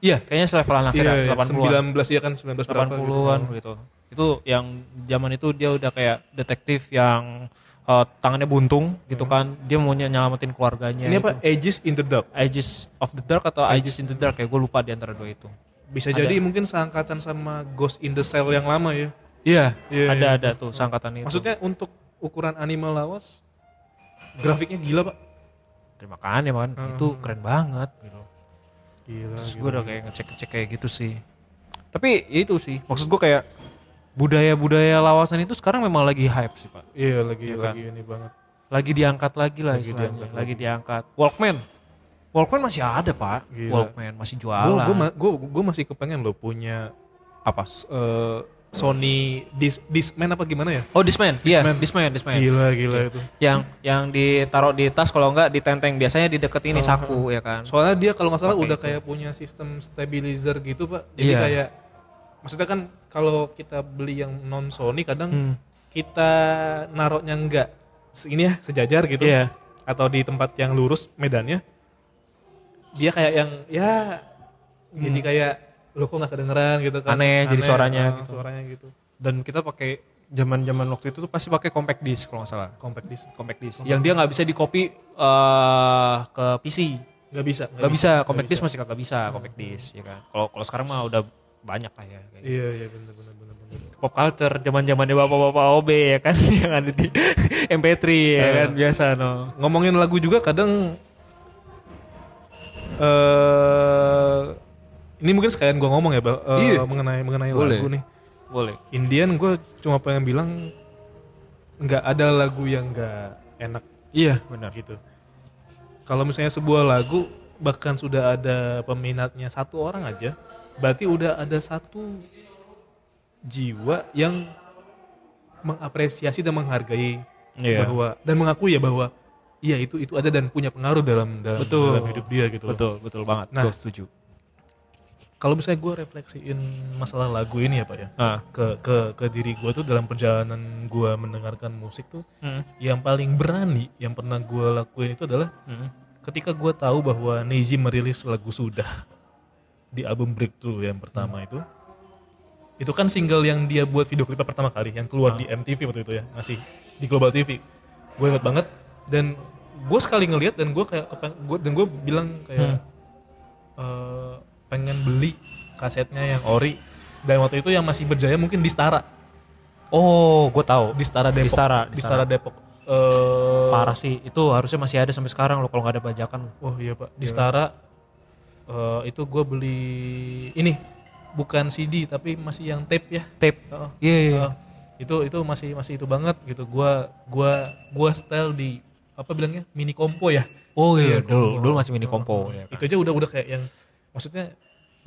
[SPEAKER 3] Iya, kayaknya selevelan akhir
[SPEAKER 2] Iya, iya,
[SPEAKER 3] 80-an.
[SPEAKER 2] 19 ya kan 19 berapa gitu.
[SPEAKER 3] 80-an gitu. Itu yang zaman itu dia udah kayak detektif yang eh, tangannya buntung gitu kan. Dia mau nyelamatin keluarganya.
[SPEAKER 2] Hmm. Ini
[SPEAKER 3] gitu.
[SPEAKER 2] apa? Aegis in the Dark.
[SPEAKER 3] Aegis of the Dark atau Aegis in the Dark ya gue lupa di antara dua itu.
[SPEAKER 2] Bisa jadi mungkin seangkatan sama Ghost in the Shell yang lama ya.
[SPEAKER 3] Iya,
[SPEAKER 2] Iya,
[SPEAKER 3] ada ada tuh sangkatan itu.
[SPEAKER 2] Maksudnya untuk ukuran anime lawas grafiknya gila, Pak.
[SPEAKER 3] terima kasih man, itu keren banget gitu.
[SPEAKER 2] Gila.
[SPEAKER 3] Terus gue udah kayak ngecek-ngecek kayak gitu sih. Tapi ya itu sih, maksud gue kayak budaya-budaya lawasan itu sekarang memang lagi hype sih, Pak.
[SPEAKER 2] Iya, lagi lagi ini banget.
[SPEAKER 3] Lagi diangkat lagi lah lagi istilahnya, lagi diangkat. Walkman. Walkman masih ada, Pak.
[SPEAKER 2] Gila.
[SPEAKER 3] Walkman masih
[SPEAKER 2] Gue
[SPEAKER 3] jualan.
[SPEAKER 2] gue gue masih kepengen loh punya apa? s- eh, Sony Dis Discman apa gimana ya? Iya.
[SPEAKER 3] oh, Discman. Iya, Discman, Discman.
[SPEAKER 2] Gila, gila itu.
[SPEAKER 3] Yang yang ditaruh di tas kalau enggak ditenteng, biasanya di deket ini saku ya kan.
[SPEAKER 2] Soalnya dia kalau nggak salah udah kayak punya sistem stabilizer gitu, Pak. Jadi
[SPEAKER 3] Iya.
[SPEAKER 2] kayak maksudnya kan kalau kita beli yang non Sony kadang kita naroknya nggak se- ini ya sejajar gitu.
[SPEAKER 3] Iya.
[SPEAKER 2] Atau di tempat yang lurus medannya. Dia kayak yang ya jadi kayak lo kok nggak kedengeran gitu kan.
[SPEAKER 3] Aneh jadi suaranya
[SPEAKER 2] ah,
[SPEAKER 3] gitu.
[SPEAKER 2] Suaranya gitu.
[SPEAKER 3] dan kita pakai zaman-zaman waktu itu tuh pasti pakai compact disc kalau nggak salah
[SPEAKER 2] Compact disc.
[SPEAKER 3] compact disc yang dia nggak bisa di copy eh, ke PC
[SPEAKER 2] Nggak bisa.
[SPEAKER 3] nggak bisa compact disc masih kagak bisa compact disc ya kan kalau kalau sekarang mah udah banyak lah ya kayak
[SPEAKER 2] Iya, iya bener bener bener bener.
[SPEAKER 3] pop culture zaman-zamannya bapak-bapak OB ya kan yang ada di MP3 ya kan biasa no
[SPEAKER 2] ngomongin lagu juga kadang eh ini mungkin sekalian gua ngomong ya Bal, eh, mengenai mengenai lagu nih.
[SPEAKER 3] boleh
[SPEAKER 2] Indian gue cuma pengen bilang nggak ada lagu yang nggak enak
[SPEAKER 3] iya benar
[SPEAKER 2] gitu. Kalau misalnya sebuah lagu bahkan sudah ada peminatnya satu orang aja, berarti udah ada satu jiwa yang mengapresiasi dan menghargai
[SPEAKER 6] Iya.
[SPEAKER 2] bahwa dan mengakui ya bahwa iya itu itu ada dan punya pengaruh dalam dalam, dalam hidup dia gitu. loh.
[SPEAKER 6] Betul, betul banget.
[SPEAKER 2] Nah.
[SPEAKER 6] Gue setuju.
[SPEAKER 2] Kalau misalnya gue refleksiin masalah lagu ini ya pak ya
[SPEAKER 1] nah.
[SPEAKER 2] ke ke ke diri gue tuh dalam perjalanan gue mendengarkan musik tuh
[SPEAKER 6] Hmm.
[SPEAKER 2] yang paling berani yang pernah gue lakuin itu adalah
[SPEAKER 6] Hmm.
[SPEAKER 2] ketika gue tahu bahwa Neji merilis lagu sudah di album Breakthrough yang
[SPEAKER 6] Hmm.
[SPEAKER 2] pertama itu itu kan single yang dia
[SPEAKER 3] Ah.
[SPEAKER 2] buat video klipnya pertama kali yang keluar di MTV waktu itu ya masih di Global TV gue inget banget dan gue sekali ngelihat dan gue kayak kepen- gua, dan gue bilang
[SPEAKER 3] Hmm.
[SPEAKER 2] kayak eh, pengen beli kasetnya yang ori dan waktu itu yang masih berjaya mungkin di Stara
[SPEAKER 3] Oh, gue tahu.
[SPEAKER 2] di Stara Depok
[SPEAKER 3] Di Stara,
[SPEAKER 2] di
[SPEAKER 3] di
[SPEAKER 2] Stara Depok Eh,
[SPEAKER 3] Parah sih. Itu harusnya masih ada sampai sekarang loh kalau nggak ada bajakan.
[SPEAKER 2] oh iya pak di Stara eh, itu gue beli ini bukan CD tapi masih yang tape ya
[SPEAKER 3] Tape.
[SPEAKER 2] Oh.
[SPEAKER 3] Iya, iya.
[SPEAKER 2] Heeh. itu itu masih masih itu banget gitu gua gua gua style di apa bilangnya mini kompo ya
[SPEAKER 3] Oh iya,
[SPEAKER 2] kompo.
[SPEAKER 3] dulu, dulu masih mini kompo. ya.
[SPEAKER 2] itu aja udah udah kayak yang maksudnya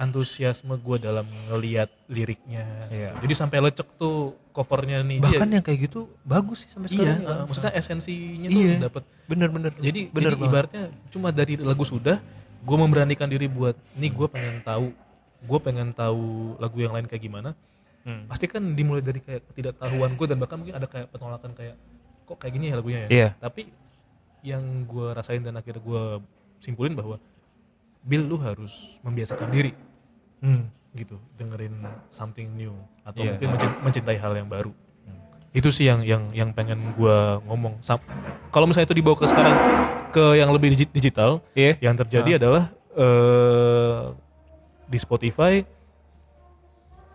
[SPEAKER 2] antusiasme gua dalam ngeliat liriknya
[SPEAKER 3] Iya.
[SPEAKER 2] gitu. jadi sampai lecek tuh covernya nih
[SPEAKER 3] Bahkan yang kayak gitu bagus sih sampai
[SPEAKER 2] iya
[SPEAKER 3] sekarang.
[SPEAKER 2] heeh. maksudnya esensinya tuh
[SPEAKER 3] Iya.
[SPEAKER 2] dapet
[SPEAKER 3] Bener-bener.
[SPEAKER 2] jadi,
[SPEAKER 3] bener
[SPEAKER 2] jadi ibaratnya cuma dari lagu sudah gue memberanikan diri buat nih gue pengen tahu gue pengen tahu lagu yang lain kayak gimana
[SPEAKER 3] Hmm.
[SPEAKER 2] pasti kan dimulai dari kayak ketidaktahuan gue dan bahkan mungkin ada kayak penolakan kayak kok kayak gini ya lagunya ya
[SPEAKER 3] Iya.
[SPEAKER 2] tapi yang gue rasain dan akhirnya gue simpulin bahwa Bill lu harus membiasakan diri gitu dengerin something new atau mungkin mencin- mencintai hal yang baru itu sih yang yang yang pengen gua ngomong Sam- kalau misalnya itu dibawa ke sekarang ke yang lebih digi- digital
[SPEAKER 3] Iya.
[SPEAKER 2] yang terjadi adalah eh di Spotify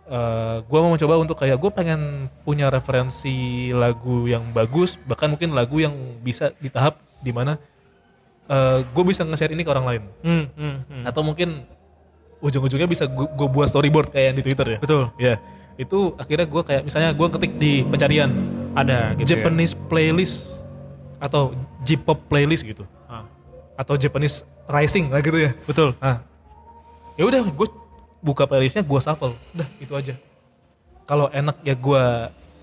[SPEAKER 2] eh gue mau mencoba untuk kayak gue pengen punya referensi lagu yang bagus bahkan mungkin lagu yang bisa di tahap dimana eh gue bisa nge-share ini ke orang lain
[SPEAKER 3] Hmm.
[SPEAKER 2] atau mungkin ujung-ujungnya bisa gue buat storyboard kayak yang di Twitter ya. Betul. Ya. Itu akhirnya gue kayak misalnya gue ketik di pencarian
[SPEAKER 3] ada gitu ya.
[SPEAKER 2] Japanese playlist atau J-pop playlist gitu.
[SPEAKER 3] Ah.
[SPEAKER 2] Atau Japanese rising lah gitu ya. Betul. Ya udah gue buka playlistnya gue shuffle. Udah itu aja. Kalau enak ya gue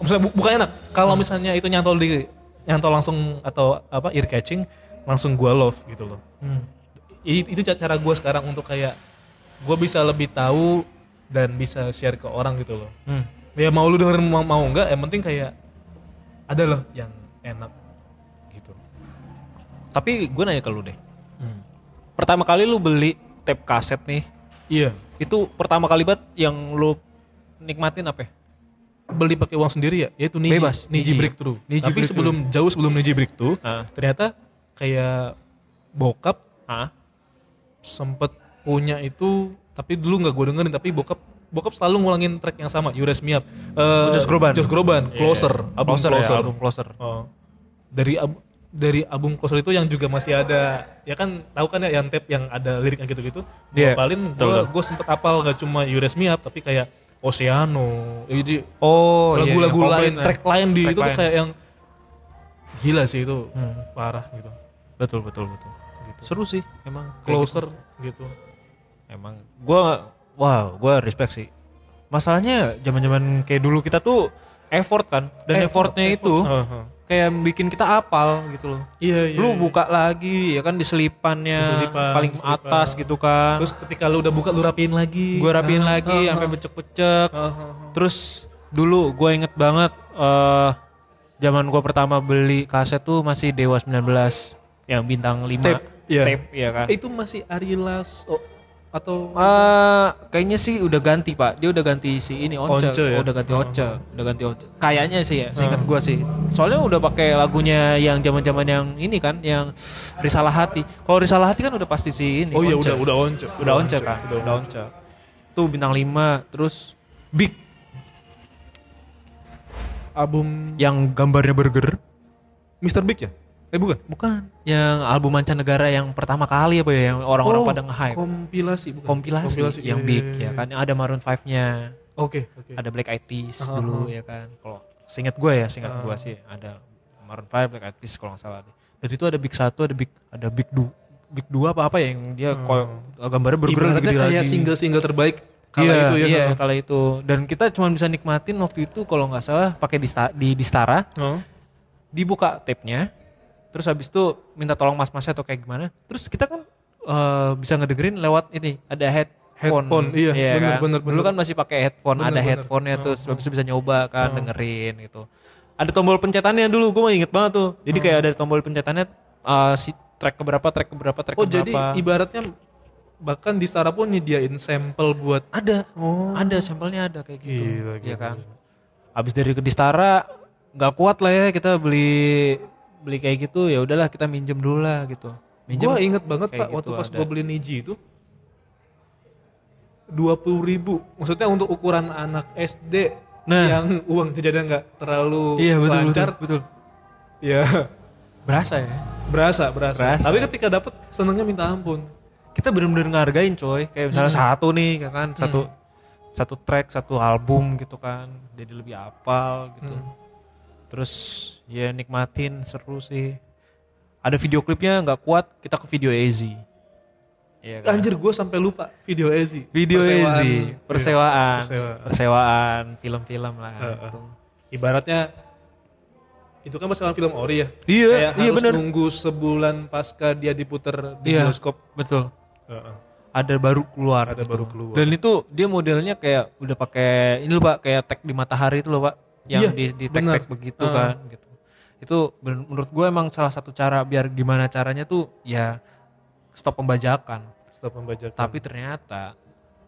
[SPEAKER 2] misalnya bu- bukan enak. Kalau misalnya itu nyantol di nyantol langsung atau apa ear catching langsung gue love gitu loh. I- itu ca- cara gue sekarang untuk kayak gue bisa lebih tahu dan bisa share ke orang gitu loh ya mau lu dengerin mau, mau nggak yang penting kayak ada loh yang enak gitu
[SPEAKER 3] Tapi gue nanya ke lu deh. Pertama kali lu beli tape kaset nih,
[SPEAKER 2] iya
[SPEAKER 3] itu pertama kali banget yang lu nikmatin apa? ya?
[SPEAKER 2] beli pakai uang sendiri ya yaitu niji
[SPEAKER 3] Bebas,
[SPEAKER 2] niji,
[SPEAKER 3] Niji.
[SPEAKER 2] breakthrough
[SPEAKER 3] Niji
[SPEAKER 2] tapi
[SPEAKER 3] Breakthrough.
[SPEAKER 2] sebelum jauh sebelum niji breakthrough
[SPEAKER 3] Ah.
[SPEAKER 2] ternyata kayak bokap
[SPEAKER 3] Hah?
[SPEAKER 2] sempet punya itu tapi dulu nggak gue dengerin tapi bokap bokap selalu ngulangin track yang sama You Raise Me Up Eh,
[SPEAKER 3] Josh Groban. Iya,
[SPEAKER 2] Josh Groban Closer album Closer,
[SPEAKER 3] Closer ya, album Closer.
[SPEAKER 2] Oh. Dari ab- dari album Closer itu yang juga masih ada ya kan tahu kan ya yang tape yang ada liriknya gitu-gitu. Gue
[SPEAKER 3] Iya,
[SPEAKER 2] paling
[SPEAKER 3] betul,
[SPEAKER 2] gue
[SPEAKER 3] betul.
[SPEAKER 2] gue sempet apal gak cuma You Raise Me Up tapi kayak Oceano. Ya, Jadi
[SPEAKER 3] Oh, iya,
[SPEAKER 2] lagu-lagu
[SPEAKER 3] yang
[SPEAKER 2] lain,
[SPEAKER 3] komplit,
[SPEAKER 2] track lain di
[SPEAKER 3] Track
[SPEAKER 2] itu tuh
[SPEAKER 3] lain. Hmm.
[SPEAKER 2] kayak yang gila sih itu parah gitu.
[SPEAKER 3] Betul, betul, betul. Seru sih emang Close.
[SPEAKER 2] Closer gitu.
[SPEAKER 3] Emang gua wow, gua respect sih. Masalahnya zaman-zaman kayak dulu kita tuh effort kan dan effortnya itu
[SPEAKER 2] Heeh.
[SPEAKER 3] kayak bikin kita apal gitu loh.
[SPEAKER 2] Iya, iya.
[SPEAKER 3] Lu buka lagi ya kan di selipannya
[SPEAKER 2] selipan,
[SPEAKER 3] paling
[SPEAKER 2] di selipan.
[SPEAKER 3] atas gitu kan.
[SPEAKER 2] Terus ketika lu udah buka lu rapiin lagi.
[SPEAKER 3] gue rapiin
[SPEAKER 2] Ah,
[SPEAKER 3] lagi
[SPEAKER 2] ah,
[SPEAKER 3] sampai
[SPEAKER 2] ah.
[SPEAKER 3] becek-becek
[SPEAKER 2] Ah, ah, ah.
[SPEAKER 3] terus dulu gue inget banget eh zaman gue pertama beli kaset tuh masih Dewa 19 yang bintang 5
[SPEAKER 2] Tape, iya.
[SPEAKER 3] ya kan
[SPEAKER 2] Itu masih Ari Lasso oh, atau
[SPEAKER 3] Eh, kayaknya sih udah ganti pak dia udah ganti si ini Once, Ah,
[SPEAKER 2] Once, ya?
[SPEAKER 3] udah ganti Once udah ganti Once kayaknya sih ya seingat gue sih soalnya udah pakai lagunya yang zaman-zaman yang ini kan yang Risalah Hati kalau Risalah Hati kan udah pasti si ini
[SPEAKER 2] Oh iya
[SPEAKER 3] Once.
[SPEAKER 2] udah udah once.
[SPEAKER 3] udah once kan udah, once tuh bintang 5 terus big
[SPEAKER 2] album
[SPEAKER 3] yang gambarnya burger
[SPEAKER 2] Mr. Big ya? Eh bukan.
[SPEAKER 3] bukan yang album mancanegara yang pertama kali apa ya yang orang-orang pada nge-hype
[SPEAKER 2] Oh, Kompilasi bukan.
[SPEAKER 3] kompilasi, yang
[SPEAKER 2] iya,
[SPEAKER 3] big
[SPEAKER 2] iya,
[SPEAKER 3] ya kan yang ada Maroon 5-nya
[SPEAKER 2] Oke, oke.
[SPEAKER 3] ada Black Eyed Peas dulu ya kan kalau seingat gue ya seingat gue sih ada Maroon 5 Black Eyed Peas kalau nggak salah deh dari itu ada big satu ada big ada big du big dua apa apa yang dia kok gambarnya burger
[SPEAKER 2] Hmm. Ibaratnya
[SPEAKER 3] gede
[SPEAKER 2] kayak
[SPEAKER 3] lagi.
[SPEAKER 2] single-single terbaik kala
[SPEAKER 3] Iya,
[SPEAKER 2] itu ya.
[SPEAKER 3] iya, kala itu. Dan kita cuma bisa nikmatin waktu itu kalau nggak salah pakai di, sta- di di Stara,
[SPEAKER 2] Heeh.
[SPEAKER 3] dibuka tape-nya, terus habis itu minta tolong mas-masnya atau kayak gimana. Terus kita kan eh, bisa ngedengerin lewat ini, ada headphone.
[SPEAKER 2] Headphone, iya, bener,
[SPEAKER 3] kan?
[SPEAKER 2] bener,
[SPEAKER 3] Dulu
[SPEAKER 2] bener.
[SPEAKER 3] kan masih pakai headphone,
[SPEAKER 2] Bener, Oh,
[SPEAKER 3] ada
[SPEAKER 2] bener.
[SPEAKER 3] headphone-nya terus habis itu bisa nyoba kan dengerin gitu. Ada tombol pencetannya dulu, gue inget banget tuh. Jadi
[SPEAKER 2] Oh.
[SPEAKER 3] kayak ada tombol pencetannya eh, si track keberapa, track keberapa, track
[SPEAKER 2] Oh,
[SPEAKER 3] keberapa.
[SPEAKER 2] jadi ibaratnya bahkan di Sara pun nyediain sampel buat
[SPEAKER 3] Ada, ada sampelnya ada kayak gitu,
[SPEAKER 2] Gila,
[SPEAKER 3] ya kan. Abis dari Kedistara nggak kuat lah ya kita beli beli kayak gitu ya udahlah kita minjem dulu lah gitu minjem
[SPEAKER 2] Gue inget banget pak
[SPEAKER 3] kayak
[SPEAKER 2] waktu
[SPEAKER 3] gitu
[SPEAKER 2] pas
[SPEAKER 3] ada.
[SPEAKER 2] gue beli Niji itu dua puluh ribu. Maksudnya untuk ukuran anak SD
[SPEAKER 3] Nah.
[SPEAKER 2] yang uang jajannya nggak terlalu
[SPEAKER 3] iya betul
[SPEAKER 2] lancar,
[SPEAKER 3] betul betul
[SPEAKER 2] ya
[SPEAKER 3] berasa ya
[SPEAKER 2] berasa, berasa
[SPEAKER 3] Berasa.
[SPEAKER 2] Tapi ketika dapet senengnya minta ampun.
[SPEAKER 3] kita bener-bener ngehargain coy kayak misalnya satu nih ya kan satu satu track satu album gitu kan jadi lebih apal gitu terus ya nikmatin seru sih ada video klipnya nggak kuat kita ke video Easy Iya kan?
[SPEAKER 2] Anjir gue sampai lupa video Ezi.
[SPEAKER 3] video
[SPEAKER 2] Persewaan.
[SPEAKER 3] Easy persewaan
[SPEAKER 2] Persewaan.
[SPEAKER 3] persewaan film-film lah gitu.
[SPEAKER 2] Ibaratnya itu kan persewaan film ori ya.
[SPEAKER 3] Iya,
[SPEAKER 2] Kayak
[SPEAKER 3] iya
[SPEAKER 2] harus
[SPEAKER 3] bener.
[SPEAKER 2] nunggu sebulan pasca dia diputer di
[SPEAKER 3] Iya.
[SPEAKER 2] bioskop.
[SPEAKER 3] betul
[SPEAKER 2] Heeh.
[SPEAKER 3] ada baru keluar
[SPEAKER 2] Ada
[SPEAKER 3] gitu.
[SPEAKER 2] baru keluar.
[SPEAKER 3] dan itu dia modelnya kayak udah pakai ini loh pak kayak tag di matahari itu loh pak
[SPEAKER 2] Iya,
[SPEAKER 3] yang di di tag tag
[SPEAKER 2] benar.
[SPEAKER 3] begitu kan gitu itu ben- menurut gue emang salah satu cara biar gimana caranya tuh ya stop pembajakan
[SPEAKER 2] Stop membaca.
[SPEAKER 3] tapi ternyata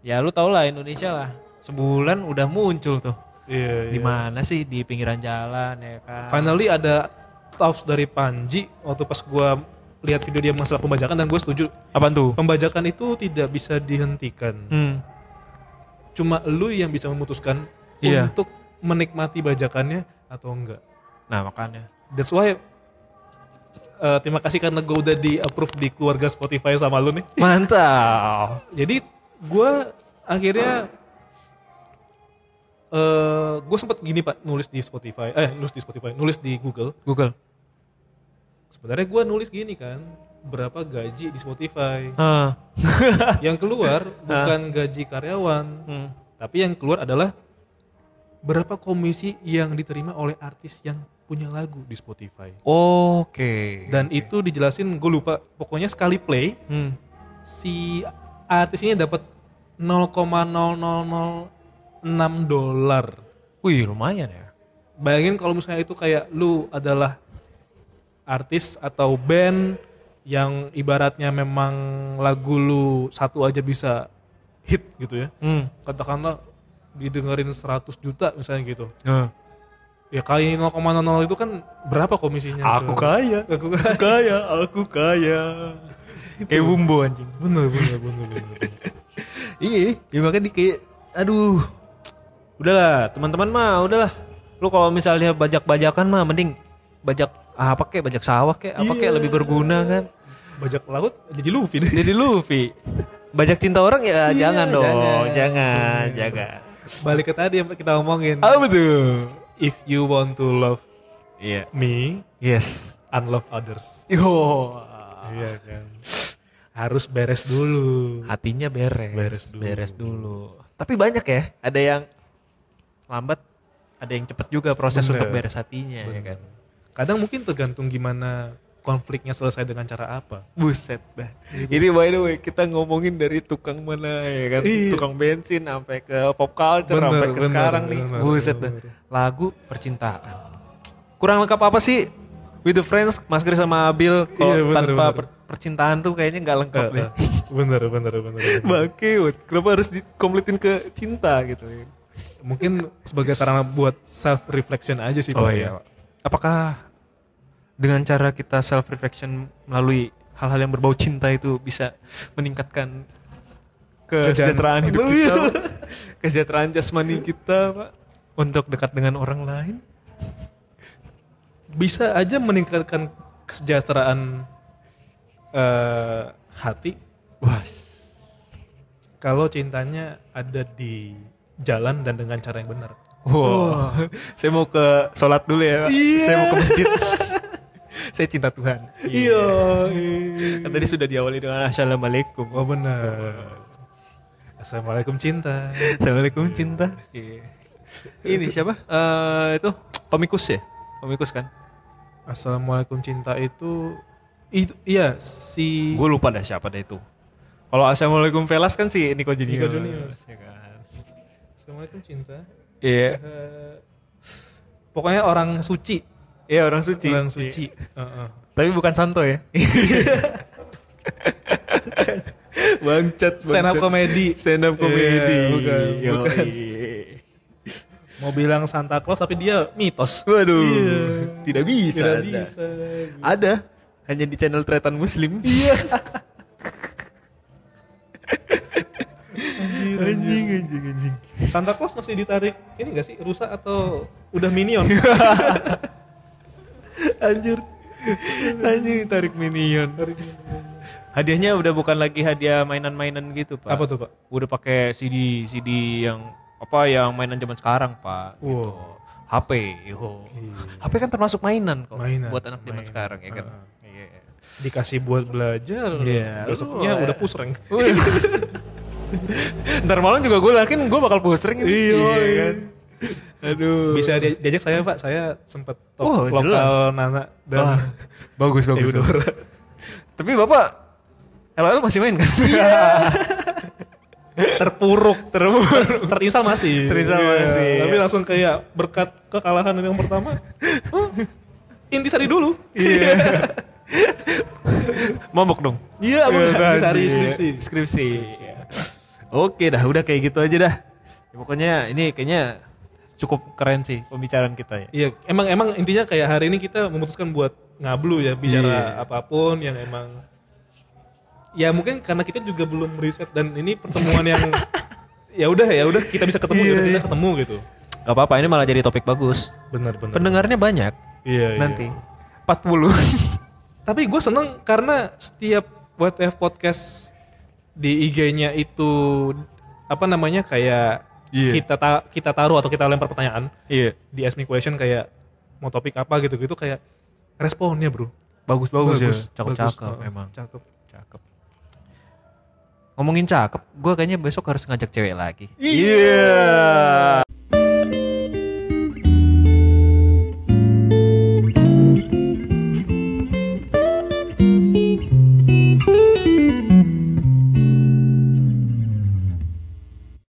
[SPEAKER 3] ya lu tau lah Indonesia lah sebulan udah muncul tuh
[SPEAKER 2] Iya,
[SPEAKER 3] di mana sih di pinggiran jalan ya kan
[SPEAKER 2] Finally ada thoughts dari Panji waktu pas gua lihat video dia masalah pembajakan dan gue setuju
[SPEAKER 3] apaan tuh
[SPEAKER 2] pembajakan itu tidak bisa dihentikan.
[SPEAKER 3] hmm.
[SPEAKER 2] Cuma lu yang bisa memutuskan
[SPEAKER 3] Iya.
[SPEAKER 2] untuk menikmati bajakannya atau enggak.
[SPEAKER 3] nah makanya
[SPEAKER 2] That's why eh, terima kasih karena gue udah di approve di keluarga Spotify sama lu nih.
[SPEAKER 3] mantap
[SPEAKER 2] Jadi gua akhirnya eh gue sempat gini pak nulis di Spotify, eh nulis di Spotify, nulis di Google.
[SPEAKER 3] Google
[SPEAKER 2] Sebenarnya gua nulis gini kan, berapa gaji di Spotify.
[SPEAKER 3] ah
[SPEAKER 2] yang keluar bukan gaji karyawan,
[SPEAKER 3] Hmm.
[SPEAKER 2] tapi yang keluar adalah berapa komisi yang diterima oleh artis yang punya lagu di Spotify.
[SPEAKER 3] oke
[SPEAKER 2] Dan itu dijelasin gue lupa, pokoknya sekali play
[SPEAKER 3] Hmm.
[SPEAKER 2] si artis ini dapat 0,0006 dolar.
[SPEAKER 3] Wih lumayan ya.
[SPEAKER 2] Bayangin kalau misalnya itu kayak lu adalah artis atau band yang ibaratnya memang lagu lu satu aja bisa hit gitu ya.
[SPEAKER 3] Hmm.
[SPEAKER 2] Katakanlah didengerin 100 juta misalnya gitu.
[SPEAKER 3] Nah,
[SPEAKER 2] Ya kali 0,00 itu kan berapa komisinya?
[SPEAKER 1] Aku
[SPEAKER 2] kan.
[SPEAKER 1] kaya,
[SPEAKER 2] Aku kan.
[SPEAKER 1] aku kaya, aku kaya. Kayak Wumbo anjing.
[SPEAKER 2] Bener, bener, bener, bener.
[SPEAKER 3] Iya, ya makanya di kayak aduh. Udahlah, teman-teman mah udahlah. Lu kalau misalnya bajak-bajakan mah mending bajak ah, apa kek, bajak sawah kek, apa kek lebih berguna kan.
[SPEAKER 2] Bajak laut jadi Luffy deh.
[SPEAKER 3] Jadi Luffy. Bajak cinta orang ya jangan dong, jangan,
[SPEAKER 1] Iya,
[SPEAKER 3] jangan.
[SPEAKER 2] Balik ke tadi yang kita omongin.
[SPEAKER 3] Apa tuh?
[SPEAKER 2] If you want to love
[SPEAKER 1] Iya.
[SPEAKER 2] me,
[SPEAKER 1] Yes.
[SPEAKER 2] unlove others.
[SPEAKER 1] Yo.
[SPEAKER 2] Iya kan. Harus beres dulu.
[SPEAKER 3] Hatinya beres.
[SPEAKER 2] Beres dulu.
[SPEAKER 3] Beres dulu. Tapi banyak ya, ada yang lambat, ada yang cepet juga proses
[SPEAKER 2] Bener.
[SPEAKER 3] untuk beres hatinya ya kan.
[SPEAKER 2] Kadang mungkin tergantung gimana konfliknya selesai dengan cara apa.
[SPEAKER 1] Buset dah. Ini by the way kita ngomongin dari tukang mana ya kan?
[SPEAKER 3] Iya.
[SPEAKER 1] Tukang bensin sampai ke pop culture
[SPEAKER 2] Bener,
[SPEAKER 1] sampai ke
[SPEAKER 2] bener,
[SPEAKER 1] sekarang nih.
[SPEAKER 2] bener.
[SPEAKER 3] Buset dah. Lagu percintaan. Kurang lengkap apa sih With the Friends, Mas Kris sama Abil kalau
[SPEAKER 2] Iya, bener,
[SPEAKER 3] tanpa
[SPEAKER 2] bener.
[SPEAKER 3] per- percintaan tuh kayaknya nggak lengkap deh.
[SPEAKER 2] Eh, bener, bener, bener. bener.
[SPEAKER 1] Bangke, Wud. kenapa harus dikomplitin ke cinta gitu ya?
[SPEAKER 2] Mungkin sebagai sarana buat self reflection aja sih Pak, ya.
[SPEAKER 3] Apakah dengan cara kita self reflection melalui hal-hal yang berbau cinta itu bisa meningkatkan kesejahteraan hidup kita, Pak? kesejahteraan jasmani kita, Pak? Untuk dekat dengan orang lain?
[SPEAKER 2] Bisa aja meningkatkan kesejahteraan eh, hati
[SPEAKER 3] Wah,
[SPEAKER 2] kalau cintanya ada di jalan dan dengan cara yang benar.
[SPEAKER 1] Wow. Saya mau ke sholat dulu ya, Pak. Saya mau ke masjid. Saya cinta Tuhan. Iya. Kan tadi sudah diawali dengan assalamualaikum.
[SPEAKER 2] Oh benar. Assalamualaikum cinta.
[SPEAKER 1] Assalamualaikum cinta.
[SPEAKER 3] Iya. ini siapa? Eh, itu komikus ya? Komikus kan?
[SPEAKER 2] Assalamualaikum cinta itu itu iya si
[SPEAKER 3] Gue lupa dah siapa dah itu. Kalau Assalamualaikum Velas kan si Nico Junior. Iya kan?
[SPEAKER 2] Nico Junior. Assalamualaikum cinta.
[SPEAKER 1] Iya.
[SPEAKER 2] Eh, pokoknya orang suci,
[SPEAKER 1] Iya orang suci.
[SPEAKER 2] orang suci. Heeh.
[SPEAKER 1] Tapi bukan santo ya. Bangcat.
[SPEAKER 2] Stand up
[SPEAKER 1] bangcat.
[SPEAKER 2] comedy.
[SPEAKER 1] Stand up
[SPEAKER 2] Iya,
[SPEAKER 1] comedy.
[SPEAKER 2] bukan,
[SPEAKER 1] Yoi.
[SPEAKER 2] bukan. mau bilang Santa Claus tapi dia mitos.
[SPEAKER 1] Waduh, tidak
[SPEAKER 2] Iya.
[SPEAKER 1] bisa.
[SPEAKER 2] Tidak
[SPEAKER 1] Anda.
[SPEAKER 2] bisa.
[SPEAKER 1] Ada hanya di channel Tretan Muslim. Iya. anjing, anjing, anjing, anjing.
[SPEAKER 2] Santa Claus masih ditarik ini gak sih rusa atau udah minion?
[SPEAKER 1] Anjir. Anjing tarik minion.
[SPEAKER 3] Hadiahnya udah bukan lagi hadiah mainan-mainan gitu, Pak.
[SPEAKER 2] Apa tuh pak?
[SPEAKER 3] Udah pakai CD CD yang apa yang mainan zaman sekarang, Pak. Gitu. HP, yo. HP kan termasuk mainan kok
[SPEAKER 2] Mainan,
[SPEAKER 3] buat anak zaman
[SPEAKER 2] mainan.
[SPEAKER 3] sekarang ya kan. Iya.
[SPEAKER 2] Dikasih buat belajar.
[SPEAKER 3] Iya,
[SPEAKER 2] Besoknya
[SPEAKER 3] lu-
[SPEAKER 2] udah pusreng.
[SPEAKER 3] Ntar malam juga gue yakin gue bakal pusing ini. kan?
[SPEAKER 2] Iya.
[SPEAKER 1] Aduh.
[SPEAKER 2] Bisa dia- diajak saya pak, saya sempet top
[SPEAKER 3] Oh,
[SPEAKER 2] lokal
[SPEAKER 3] jelas.
[SPEAKER 2] Nana dan
[SPEAKER 1] Bagus, bagus. bagus.
[SPEAKER 2] Eudora.
[SPEAKER 3] Tapi Bapak LOL masih main kan?
[SPEAKER 2] Terpuruk, terpuruk. Terinstal masih.
[SPEAKER 1] Terinstal
[SPEAKER 2] Iya,
[SPEAKER 1] masih.
[SPEAKER 2] Tapi langsung kayak berkat kekalahan yang pertama. huh, Intisari dulu.
[SPEAKER 3] Mabok dong.
[SPEAKER 2] Iya, Intisari
[SPEAKER 1] Iya.
[SPEAKER 2] skripsi.
[SPEAKER 3] Skripsi. ya. Oke dah, udah kayak gitu aja dah. Ya, pokoknya ini kayaknya cukup keren sih pembicaraan kita ya.
[SPEAKER 2] Iya, emang emang intinya kayak hari ini kita memutuskan buat ngablu ya bicara apapun yang emang ya mungkin karena kita juga belum riset dan ini pertemuan yang ya udah ya udah kita bisa ketemu ya udah kita ketemu gitu.
[SPEAKER 3] Gak apa-apa, ini malah jadi topik bagus.
[SPEAKER 2] Benar benar.
[SPEAKER 3] Pendengarnya banyak
[SPEAKER 2] iya, iya.
[SPEAKER 3] nanti. 40.
[SPEAKER 2] Tapi gue seneng karena setiap WTF podcast di IG-nya itu apa namanya kayak
[SPEAKER 1] Iya.
[SPEAKER 2] kita ta- kita taruh atau kita lempar pertanyaan
[SPEAKER 1] Iya.
[SPEAKER 2] di ask me question kayak mau topik apa gitu gitu kayak responnya bro
[SPEAKER 1] Bagus, bagus, ya.
[SPEAKER 3] Cakep-cakep
[SPEAKER 2] Bagus,
[SPEAKER 3] memang.
[SPEAKER 2] cakep
[SPEAKER 3] Oh, Cakep. Ngomongin cakep, gue kayaknya besok harus ngajak cewek lagi.
[SPEAKER 1] Iya.